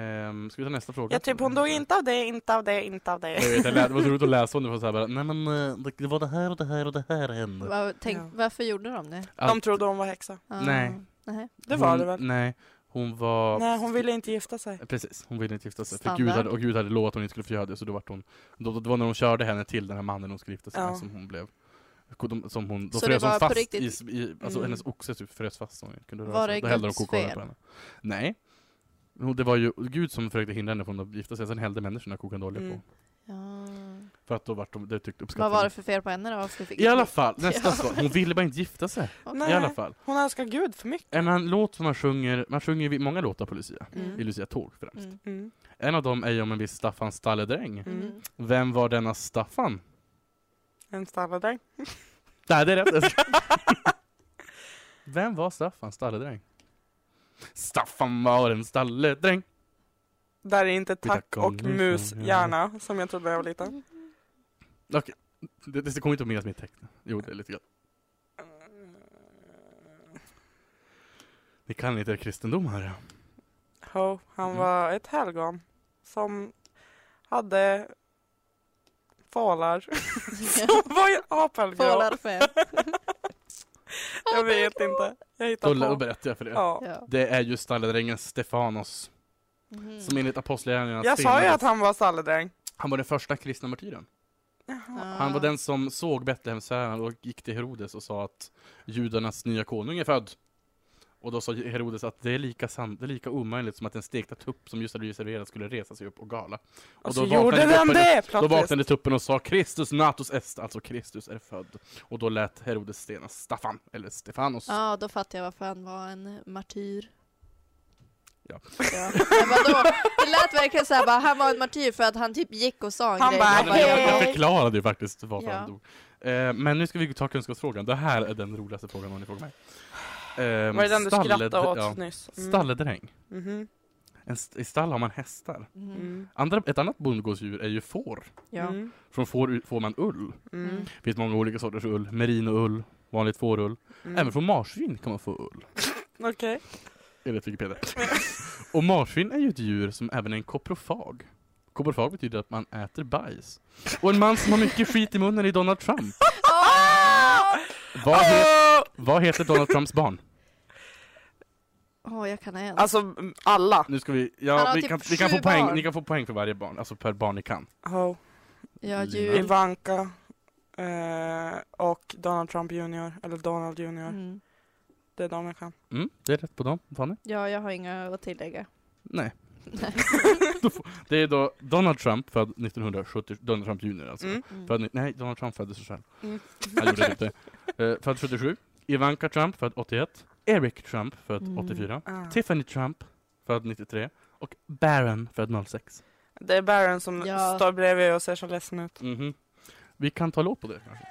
B: Ehm, ska vi ta nästa fråga?
C: Jag typ, hon dog inte av det, inte av det, inte av det.
B: Jag vet, jag lät, det var så roligt att läsa om det. Var så här bara, Nej men eh, det- det var det här och det här och det här hände.
D: Vad- tänk,
C: Ja.
D: Varför gjorde de det?
C: De trodde hon var häxa.
D: Ja.
B: Nej.
D: Nej.
C: Det var
B: hon,
C: det väl?
B: Nej, hon var...
C: Nej, hon ville inte gifta sig.
B: Precis, hon ville inte gifta sig. För
D: Standard.
B: Gud hade, och Gud hade lovat att hon inte skulle få göra det, så då vart hon... Då, då, det var när de körde henne till den här mannen hon skulle gifta sig
C: Ja.
B: med som hon blev... de- Som hon, då
D: Så det
B: frös
D: var
B: hon
D: på
B: fast i,
D: riktigt-
B: i... Alltså
C: Mm.
B: hennes oxe typ frös fast så hon inte kunde röra
D: Var
B: sig.
D: det
B: Då hällde de
D: Guds
B: kokain
D: fel?
B: på henne. Nej. Jo, Det var ju Gud som försökte hindra henne från att gifta sig, sen hällde människorna kokande olja
C: Mm.
B: på
D: Ja.
B: För att då vart de, det tyckte
D: Vad var det
B: uppskattade
D: för fel på henne då? Varför fick
B: I alla
D: hon-
B: fall,
D: (laughs)
B: nästa svar. Hon ville bara inte gifta sig.
D: Okej.
C: Nej.
B: I alla fall.
C: Hon älskar Gud för mycket.
B: En annan låt som man sjunger, man sjunger ju många låtar på Lucia.
D: Mm.
B: I Lucia Tåg främst.
D: Mm.
C: Mm.
B: En av dem är ju om en viss Staffan Stalledräng.
C: Mm.
D: Mm. (laughs)
B: Vem var denna Staffan?
C: En stalladräng.
B: Nej, det är rätt. (laughs) Vem var Staffan Stalledräng? Staffan var en stalledräng.
C: Där är inte tack
B: tackar
C: och
B: nu som
C: mus
B: jag-
C: gärna som jag trodde när jag var liten.
B: Det, det kommer inte att minnas mitt tecken. Jo, det är lite grann. Ni kan inte er kristendom här.
C: Ho, han
B: Mm.
C: var ett helgon som hade (laughs) falar som var apelgrå.
D: Fålar fem.
C: (laughs) Jag vet inte. Jag
B: Då,
C: hittar
B: då
C: på.
B: berättar jag för er.
C: Ja.
D: Ja.
B: Det är ju stalledrängen Stefanos,
C: Mm.
D: Mhm.
B: som enligt Apostlagärningarna
C: Jag sa ju
B: stenades.
C: att han var stalledräng.
B: Han var den första kristna martyren.
C: Jaha.
B: Han var den som såg Betlehemsfärjan och gick till Herodes och sa att judarnas nya konung är född. Och då sa Herodes att det är lika, sant, det är lika omöjligt som att en stekta tupp som just hade blivit serverad skulle resa sig upp och gala.
C: Och, så
B: vaknade
C: Alltså, gjorde den
B: tuppen-
C: det
B: Då
C: plötsligt.
B: vaknade tuppen och sa Kristus natus est, alltså Kristus är född. Och då lät Herodes stena Staffan, eller Stefanos.
D: Ja, då fattar jag varför han var en martyr.
B: Ja.
D: Men vadå? Det lät verkligen såhär bara, han var en martyr för att han typ gick och sa en
C: Han
D: grej.
C: bara,
B: Ja,
D: Han
B: men jag, jag
C: hej.
B: förklarade ju faktiskt varför
D: Ja.
B: han dog. Eh, men nu ska vi ta kunskapsfrågan. Det här är den roligaste frågan om ni frågar mig. Eh,
C: Var det den du skrattade åt
B: ja.
C: nyss? Mm.
B: Stalledräng.
C: Mhm.
B: En st- I stall har man hästar.
D: Mm.
C: Mm.
B: Andra, ett annat bondgårdsdjur är ju får.
D: Ja.
C: Mm.
B: Från får u- får man ull.
C: Mm.
B: Det finns många olika sorters ull. Merinoull, vanligt fårull.
C: Mm.
B: Även från marsvin kan man få ull.
C: (laughs) Okej.
B: Enligt
D: (laughs)
B: Wikipedia. Och marsvin är ju ett djur som även är en koprofag. Koprofag betyder att man äter bajs. Och en man som har mycket skit i munnen är Donald Trump.
C: Ah!
D: Åh!
B: Vad, he- vad heter Donald Trumps barn?
D: Åh, jag kan en.
C: Alltså m- alla.
B: Nu ska vi,
D: Han
B: ja,
D: har
B: vi,
D: typ
B: kan, vi kan
D: sju
B: få poäng,
D: barn.
B: ni kan få poäng för varje barn, alltså per barn ni kan.
C: Oh.
D: ja,
B: Lina.
C: Mm.
D: djur.
C: Ivanka. Eh, och Donald Trump Jr. Eller Donald Jr.
D: Mm.
C: Det är de jag kan.
B: Mm, det är rätt på dem, Fanny?
D: Ja, jag har inga att tillägga.
B: Nej.
D: Nej.
B: Då får- det är då Donald Trump född 1970, Donald Trump Jr alltså.
C: Mm.
D: Mm.
B: Född, ni- nej, Donald Trump födde sig själv.
C: Mm.
B: Han gjorde inte. Eh, född 77. Ivanka Trump född 81. Eric Trump född
D: Mm.
B: 84.
C: Ah.
B: Tiffany Trump född 93. Och Barron född 06.
C: Det är Baron som
D: Ja.
C: står bredvid och ser så ledsen ut.
B: Mhm. Vi kan ta låt på det kanske.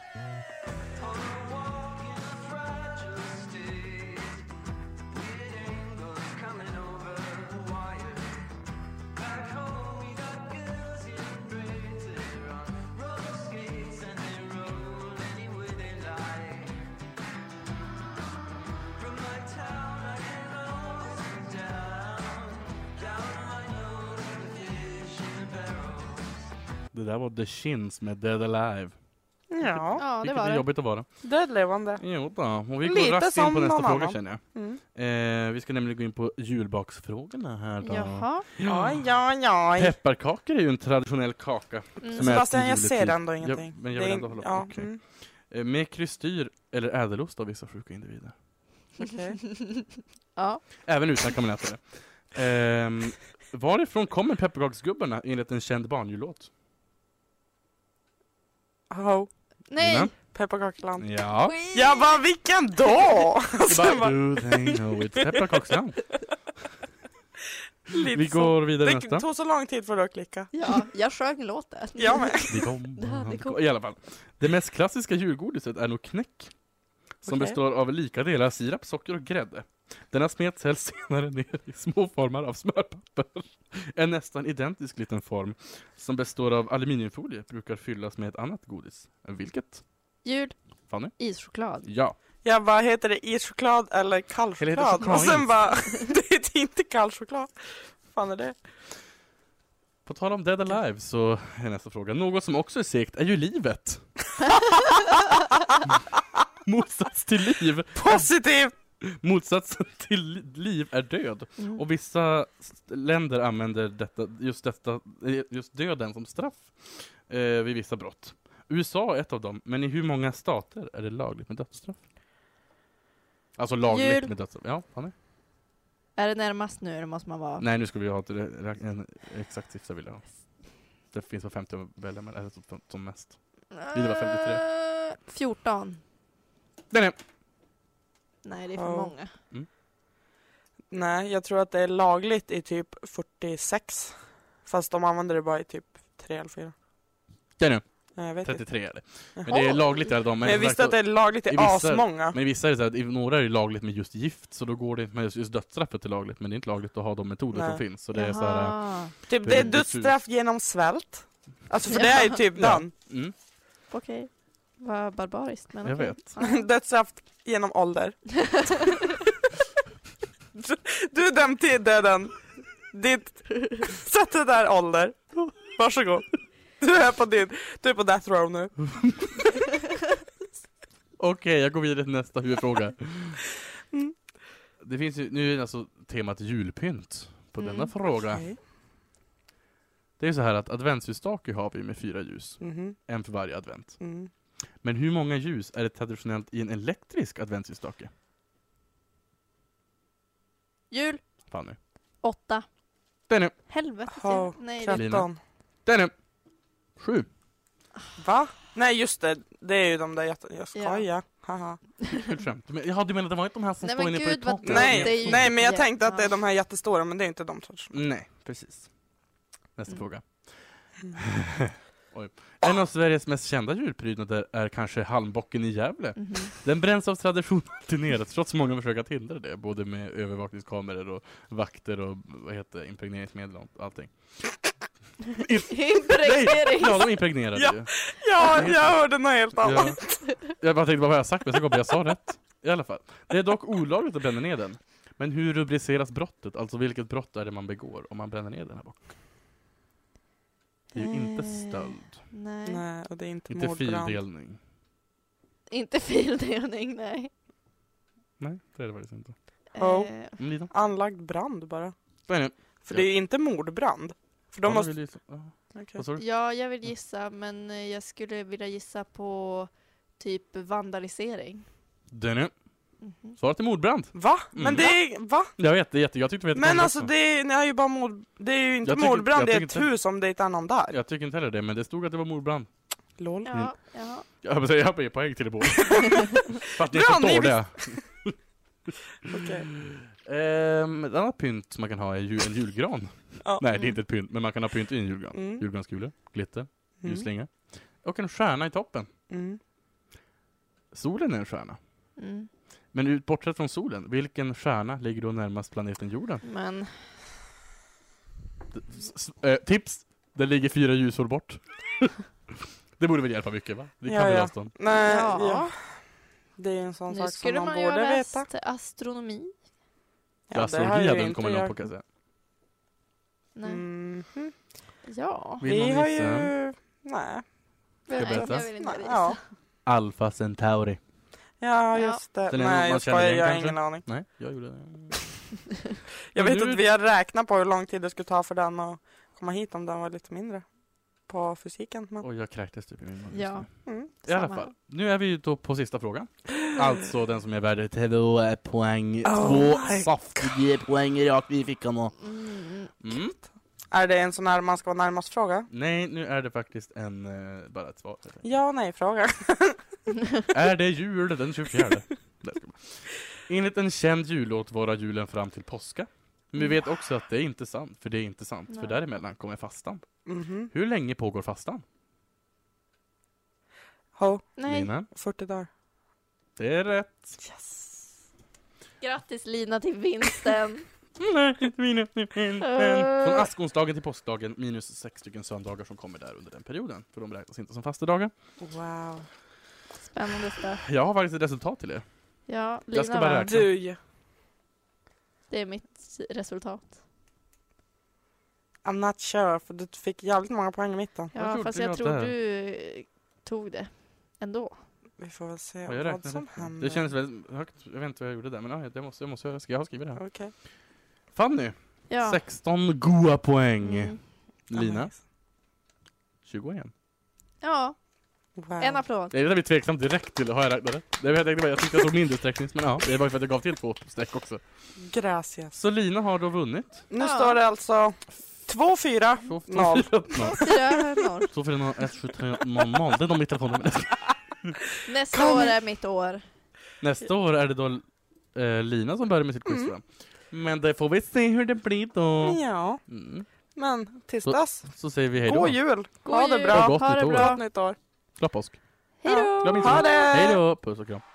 B: Det där var The Shins med Dead Alive.
C: Ja,
D: Ja, det
B: Vilket
D: var
B: är
D: det.
B: jobbigt att vara.
C: död levande.
B: Jo då. och vi
C: Lite
B: går raskt in
C: som
B: på nästa
C: någon
B: fråga
C: annan.
B: känner jag.
C: Mm.
B: Eh, vi ska nämligen gå in på julbaksfrågorna här då.
D: Jaha.
C: Ja, ja, ja.
B: Pepparkakor är ju en traditionell kaka.
D: Mm.
B: Som
C: (laughs)
B: är-
C: Sebastian, jag
B: äter
C: ser
B: juletid.
C: ändå ingenting.
B: Ja, men jag vill
C: Det är-
B: ändå hålla på.
C: ja,
B: Okej.
C: mm.
B: Eh, med krystyr eller ädelost av vissa sjuka individer.
C: Okej.
D: (laughs) ja.
B: Även utan kan man äta det. Ehm, varifrån kommer pepparkaksgubbarna enligt en känd barnjullåt?
C: Ho,
D: Nej!
B: Lina?
C: pepparkaksland.
B: Ja.
D: Skit!
C: Jag bara, vilken då?
B: Det är bara, Do they know it's
C: (laughs)
B: pepparkaksland?
C: Lite
B: (laughs) Vi
C: så.
B: går vidare till
C: Det
B: nästa.
C: tog så lång tid för dig att klicka.
D: Ja, jag
C: (laughs)
D: sjöng låten.
C: Jag
D: (laughs)
C: med.
B: Vi kom,
D: Det hade kommit.
B: I alla fall. Det mest klassiska julgodiset är nog knäck. Som
C: Okej.
B: består av lika delar sirap, socker och grädde. Denna smets hälls senare ner i små formar av smörpapper. En nästan identisk liten form som består av aluminiumfolie brukar fyllas med ett annat godis. Vilket?
D: Jul.
B: Fanny?
D: Ischoklad.
B: Ja.
C: Jag bara, heter det ischoklad eller kall
B: Eller heter
C: choklad?
B: choklad
C: Och sen
B: is?
C: bara, (laughs) det heter inte kall choklad. fan är det?
B: På tal om Dead Alive så är nästa fråga. Något som också är segt är ju livet. Motsats till liv.
C: Positivt!
B: Motsatsen (laughs) till li- liv är död.
D: Mm.
B: Och vissa st- länder använder detta, just, detta, eh, just döden som straff eh, vid vissa brott. USA är ett av dem, men i hur många stater är det lagligt med dödsstraff? Alltså lagligt
D: Jul.
B: med dödsstraff. Ja, Fanny?
D: Är det närmast nu eller måste man vara?
B: Nej, nu ska vi ha till det- ra- en exakt siffra vill jag ha. Det finns på 50 att välja mellan, eller som- som mest. det var 53.
D: Eh, 14.
B: Den är!
D: Nej, det är för
C: Ja.
D: många.
C: Nej, jag tror att det är lagligt i typ 46. Fast de använder det bara i typ 3 eller 4.
B: Den är!
C: Nej, jag vet inte.
B: 33
C: (laughs)
B: är det. Men
C: Jaha.
B: det är lagligt i alla de.
C: Men jag visste att det är lagligt
B: i
C: i
B: vissa-
C: asmånga.
B: Men i vissa är det så här att i några är det lagligt med just gift, så då går det inte med just- just dödsstraffet är lagligt, men det är inte lagligt att ha de metoder
C: Nej.
B: som finns. Så det är så här,
D: Jaha.
C: Typ,
B: det
C: det
B: är
C: är
B: lite
C: dödsstraff genom svält. Alltså för det är ju typ
B: Ja.
C: den.
B: mm,
D: Okej. Vad barbariskt. Men
B: jag
D: okej.
B: vet.
C: (laughs) Dödsstraff genom ålder. (laughs) Du är dömd till döden. Ditt... Sätt det där ålder. Varsågod. Du är på din... Du är på death row nu.
B: Okej, jag går vidare till nästa huvudfråga.
C: (laughs) Mm.
B: Det finns ju, nu är det alltså temat julpynt på denna
D: Mm,
B: fråga.
C: Okej.
B: Det är ju så här att adventsljusstake har vi med fyra ljus,
C: Mhm,
B: en för varje advent.
C: mm.
B: Men hur många ljus är det traditionellt i en elektrisk adventsljusstake?
D: Jul,
B: Fanny.
D: åtta.
B: Denny,
D: Helvete.
C: Ja,
D: Sten. Nej, det...
B: klart. Lina.
C: 13.
B: Denny! Sju.
C: Va? Nej just det, det är ju de där jätte... Jag skojar. Haha.
B: Kul skämt. Men, jaha, du menar det var inte de här som
D: Nej,
B: står
D: men
B: inne på
D: gud,
B: ditt
D: vad
B: tak?
D: Ja,
C: Nej,
D: det är ju
C: nej men jag
D: jätte-
C: tänkte att det är
D: ja.
C: de här jättestora men det är inte de sorts.
B: Nej, precis. Nästa
D: Mm.
B: fråga.
C: Mm.
B: (laughs) Oj. En av Sveriges mest kända djurprydnader är kanske halmbocken i Gävle.
D: Mhm.
B: Den bränns av tradition alltid ner, trots många försök att hindra det, både med övervakningskameror och vakter och vad heter det, impregneringsmedel och allting.
D: Impregnering.
B: Ja, de impregnerade
C: Ja.
B: ju.
C: Ja, jag hörde något helt annat.
B: Ja. Jag bara tänkte, vad har jag sagt? Men så kom jag, jag sa rätt. I alla fall. Det är dock olagligt att bränna ner den. Men hur rubriceras brottet? Alltså vilket brott är det man begår om man bränner ner den här bocken? Det är ju inte
D: Eh,
B: stöld.
D: Nej.
C: Nej, och det är inte,
B: Inte
C: mordbrand.
B: fildelning.
D: Inte (laughs) fildelning, nej.
B: Nej, det är det faktiskt inte.
C: Ja.
D: Eh,
B: Mm, Lina?
C: Anlagd brand bara.
B: Nej, nej.
C: För
B: Ja.
C: det är inte mordbrand. För de
B: Ja,
C: måste...
B: vill alltså- ju- ja.
C: Okej.
B: Vad sa du?
D: Ja, jag vill gissa, men eh, jag skulle vilja gissa på typ vandalisering.
B: Den är
D: Mhm.
B: svaret är mordbrand.
C: Va?
B: Mm.
C: Men det är... Va?
B: Jag vet, det är jätte, jag tyckte det var
C: Men
B: jättekonstigt
C: alltså
B: också.
C: det är, ni har ju bara mord... Det är ju inte
B: Jag tycker-
C: mordbrand,
B: jag
C: det är
B: tycker
C: ett
B: inte-
C: hus om det är ett annan där.
B: Jag tycker inte heller det, men det stod att det var mordbrand.
C: LOL.
D: Ja, ja.
B: (laughs) Jag vill säga, jag ger poäng
C: (laughs)
B: till er båda. För att ni är så
C: Bra, ni
B: dåliga.
C: Okej.
B: Ehm, ett annat pynt som man kan ha är ju en julgran.
C: (laughs) Ja.
B: Nej, det är inte ett pynt, men man kan ha pynt i en julgran.
C: Mm.
B: Julgranskulor, glitter,
C: Mm.
B: ljusslinga. Och en stjärna i toppen.
C: Mm.
B: Solen är en stjärna.
D: Mm.
B: Men ut, bortsett från solen, vilken stjärna ligger då närmast planeten jorden?
D: Men
B: D- s- s- eh, tips! Den ligger fyra ljusår (laughs) bort. det borde väl hjälpa mycket va? Vi kan
C: Ja,
B: väl
C: ja.
B: avstånd.
C: Nej,
D: Ja.
C: ja. Det är en sån
D: nu
C: sak som
D: skulle
C: man,
D: man ju
C: borde
D: ha läst
C: veta.
D: astronomi.
B: Ja, Astrologi
C: har ju
B: hade den
C: inte
B: kommit långt
C: jag.
B: på kan jag säga.
D: Nej.
B: Mm.
C: Mhm.
D: Ja.
B: Vill någon
C: Vi har
B: gissa?
C: ju... Nej.
B: jag
D: Nej,
B: berätta?
D: vill inte
C: Nej,
D: visa.
C: ja.
B: Alfa Centauri.
C: ja,
D: Ja.
C: just det.
B: Den är nog
C: Nej,
B: man
C: jag
B: känner
C: skojar.
B: igen
C: Jag har
B: kanske.
C: ingen aning.
B: Nej, jag gjorde det. Men
C: Jag vet
B: nu-
C: att vi har räknat på hur lång tid det skulle ta för den att komma hit om den var lite mindre. På fysiken. Men...
B: Och jag kräktes typ i min mun. just
D: Ja.
B: nu.
C: Mm.
B: I alla
D: samma.
B: fall, nu är vi ju då på sista (gasps) frågan. Alltså den som är värd två eh, poäng,
C: Oh
B: två
C: my
B: saftiga poäng rakt i fickan då.
D: Mm. (laughs)
B: Mm.
C: Är det en sån här man ska vara närmast fråga?
B: Nej, nu är det faktiskt en, eh, bara ett svar.
C: Ja nej fråga.
B: Är det jul den 24? Där ska man. Enligt en känd jullåt varar julen fram till påska. Men vi vet också att det är inte sant, för det är inte sant, för
D: Nej.
B: däremellan kommer fastan.
C: Mhm.
B: Hur länge pågår fastan?
C: Ho,
D: Nej.
B: Lina?
C: 40 dagar.
B: Det är rätt.
D: Grattis Lina till vinsten.
B: Från askonsdagen till påskdagen minus sex stycken söndagar som kommer där under den perioden. För de räknas inte som fastedagar.
C: Wow.
D: Spännande stuff.
B: Jag har faktiskt ett resultat till er.
D: Ja, Lina
B: Jag ska bara
D: vann.
B: räkna.
C: Du ju.
D: Det är mitt resultat.
C: I'm not sure för du fick jävligt många poäng i mitten.
B: Jag
D: Ja,
B: tror
D: fast
B: det
D: jag
B: var
D: tror
B: där.
D: du eh, tog det ändå.
C: Vi får väl se
B: Ja, jag
C: vad
B: räknade.
C: som händer.
B: Det kändes väldigt högt. Jag vet inte vad jag gjorde där, men ja, jag måste, jag måste, jag ska- jag har skrivit det här.
C: Okej.
B: Fanny,
D: Ja.
B: 16 goa poäng.
D: Mm.
B: Lina,
C: Nice.
B: 21.
D: Ja,
C: Wow.
D: en applåd.
B: Jag blev tveksam direkt till, har jag räknat rätt? Nej, men Jag tänkte bara, jag tyckte jag såg mindre sträckning, men ja, det var ju för att jag gav till två streck också.
C: Gracias.
B: Så Lina har då vunnit.
C: Nu
D: Ja.
C: står det alltså 2-4.
B: Så får-
C: Noll.
B: Noll.
D: Fyra, noll.
B: Så får den ha 17300, det är de i telefonen.
D: Nästa
C: Kom.
D: år är mitt år.
B: Nästa år är det då eh, Lina som börjar med sitt quiz tror jag. Men det får vi se hur det blir då.
C: Mm. Ja,
B: Mm.
C: men tills dess.
B: Så säger vi hej då.
C: God jul!
D: God
C: ha det
D: jul.
C: bra!
B: Och gott
D: Ha det
B: nytt år.
D: bra.
C: Gott nytt år!
B: Glad påsk.
D: Hej då!
B: Glöm inte
C: Ha
B: det.
C: det!
B: Hej då, puss och kram.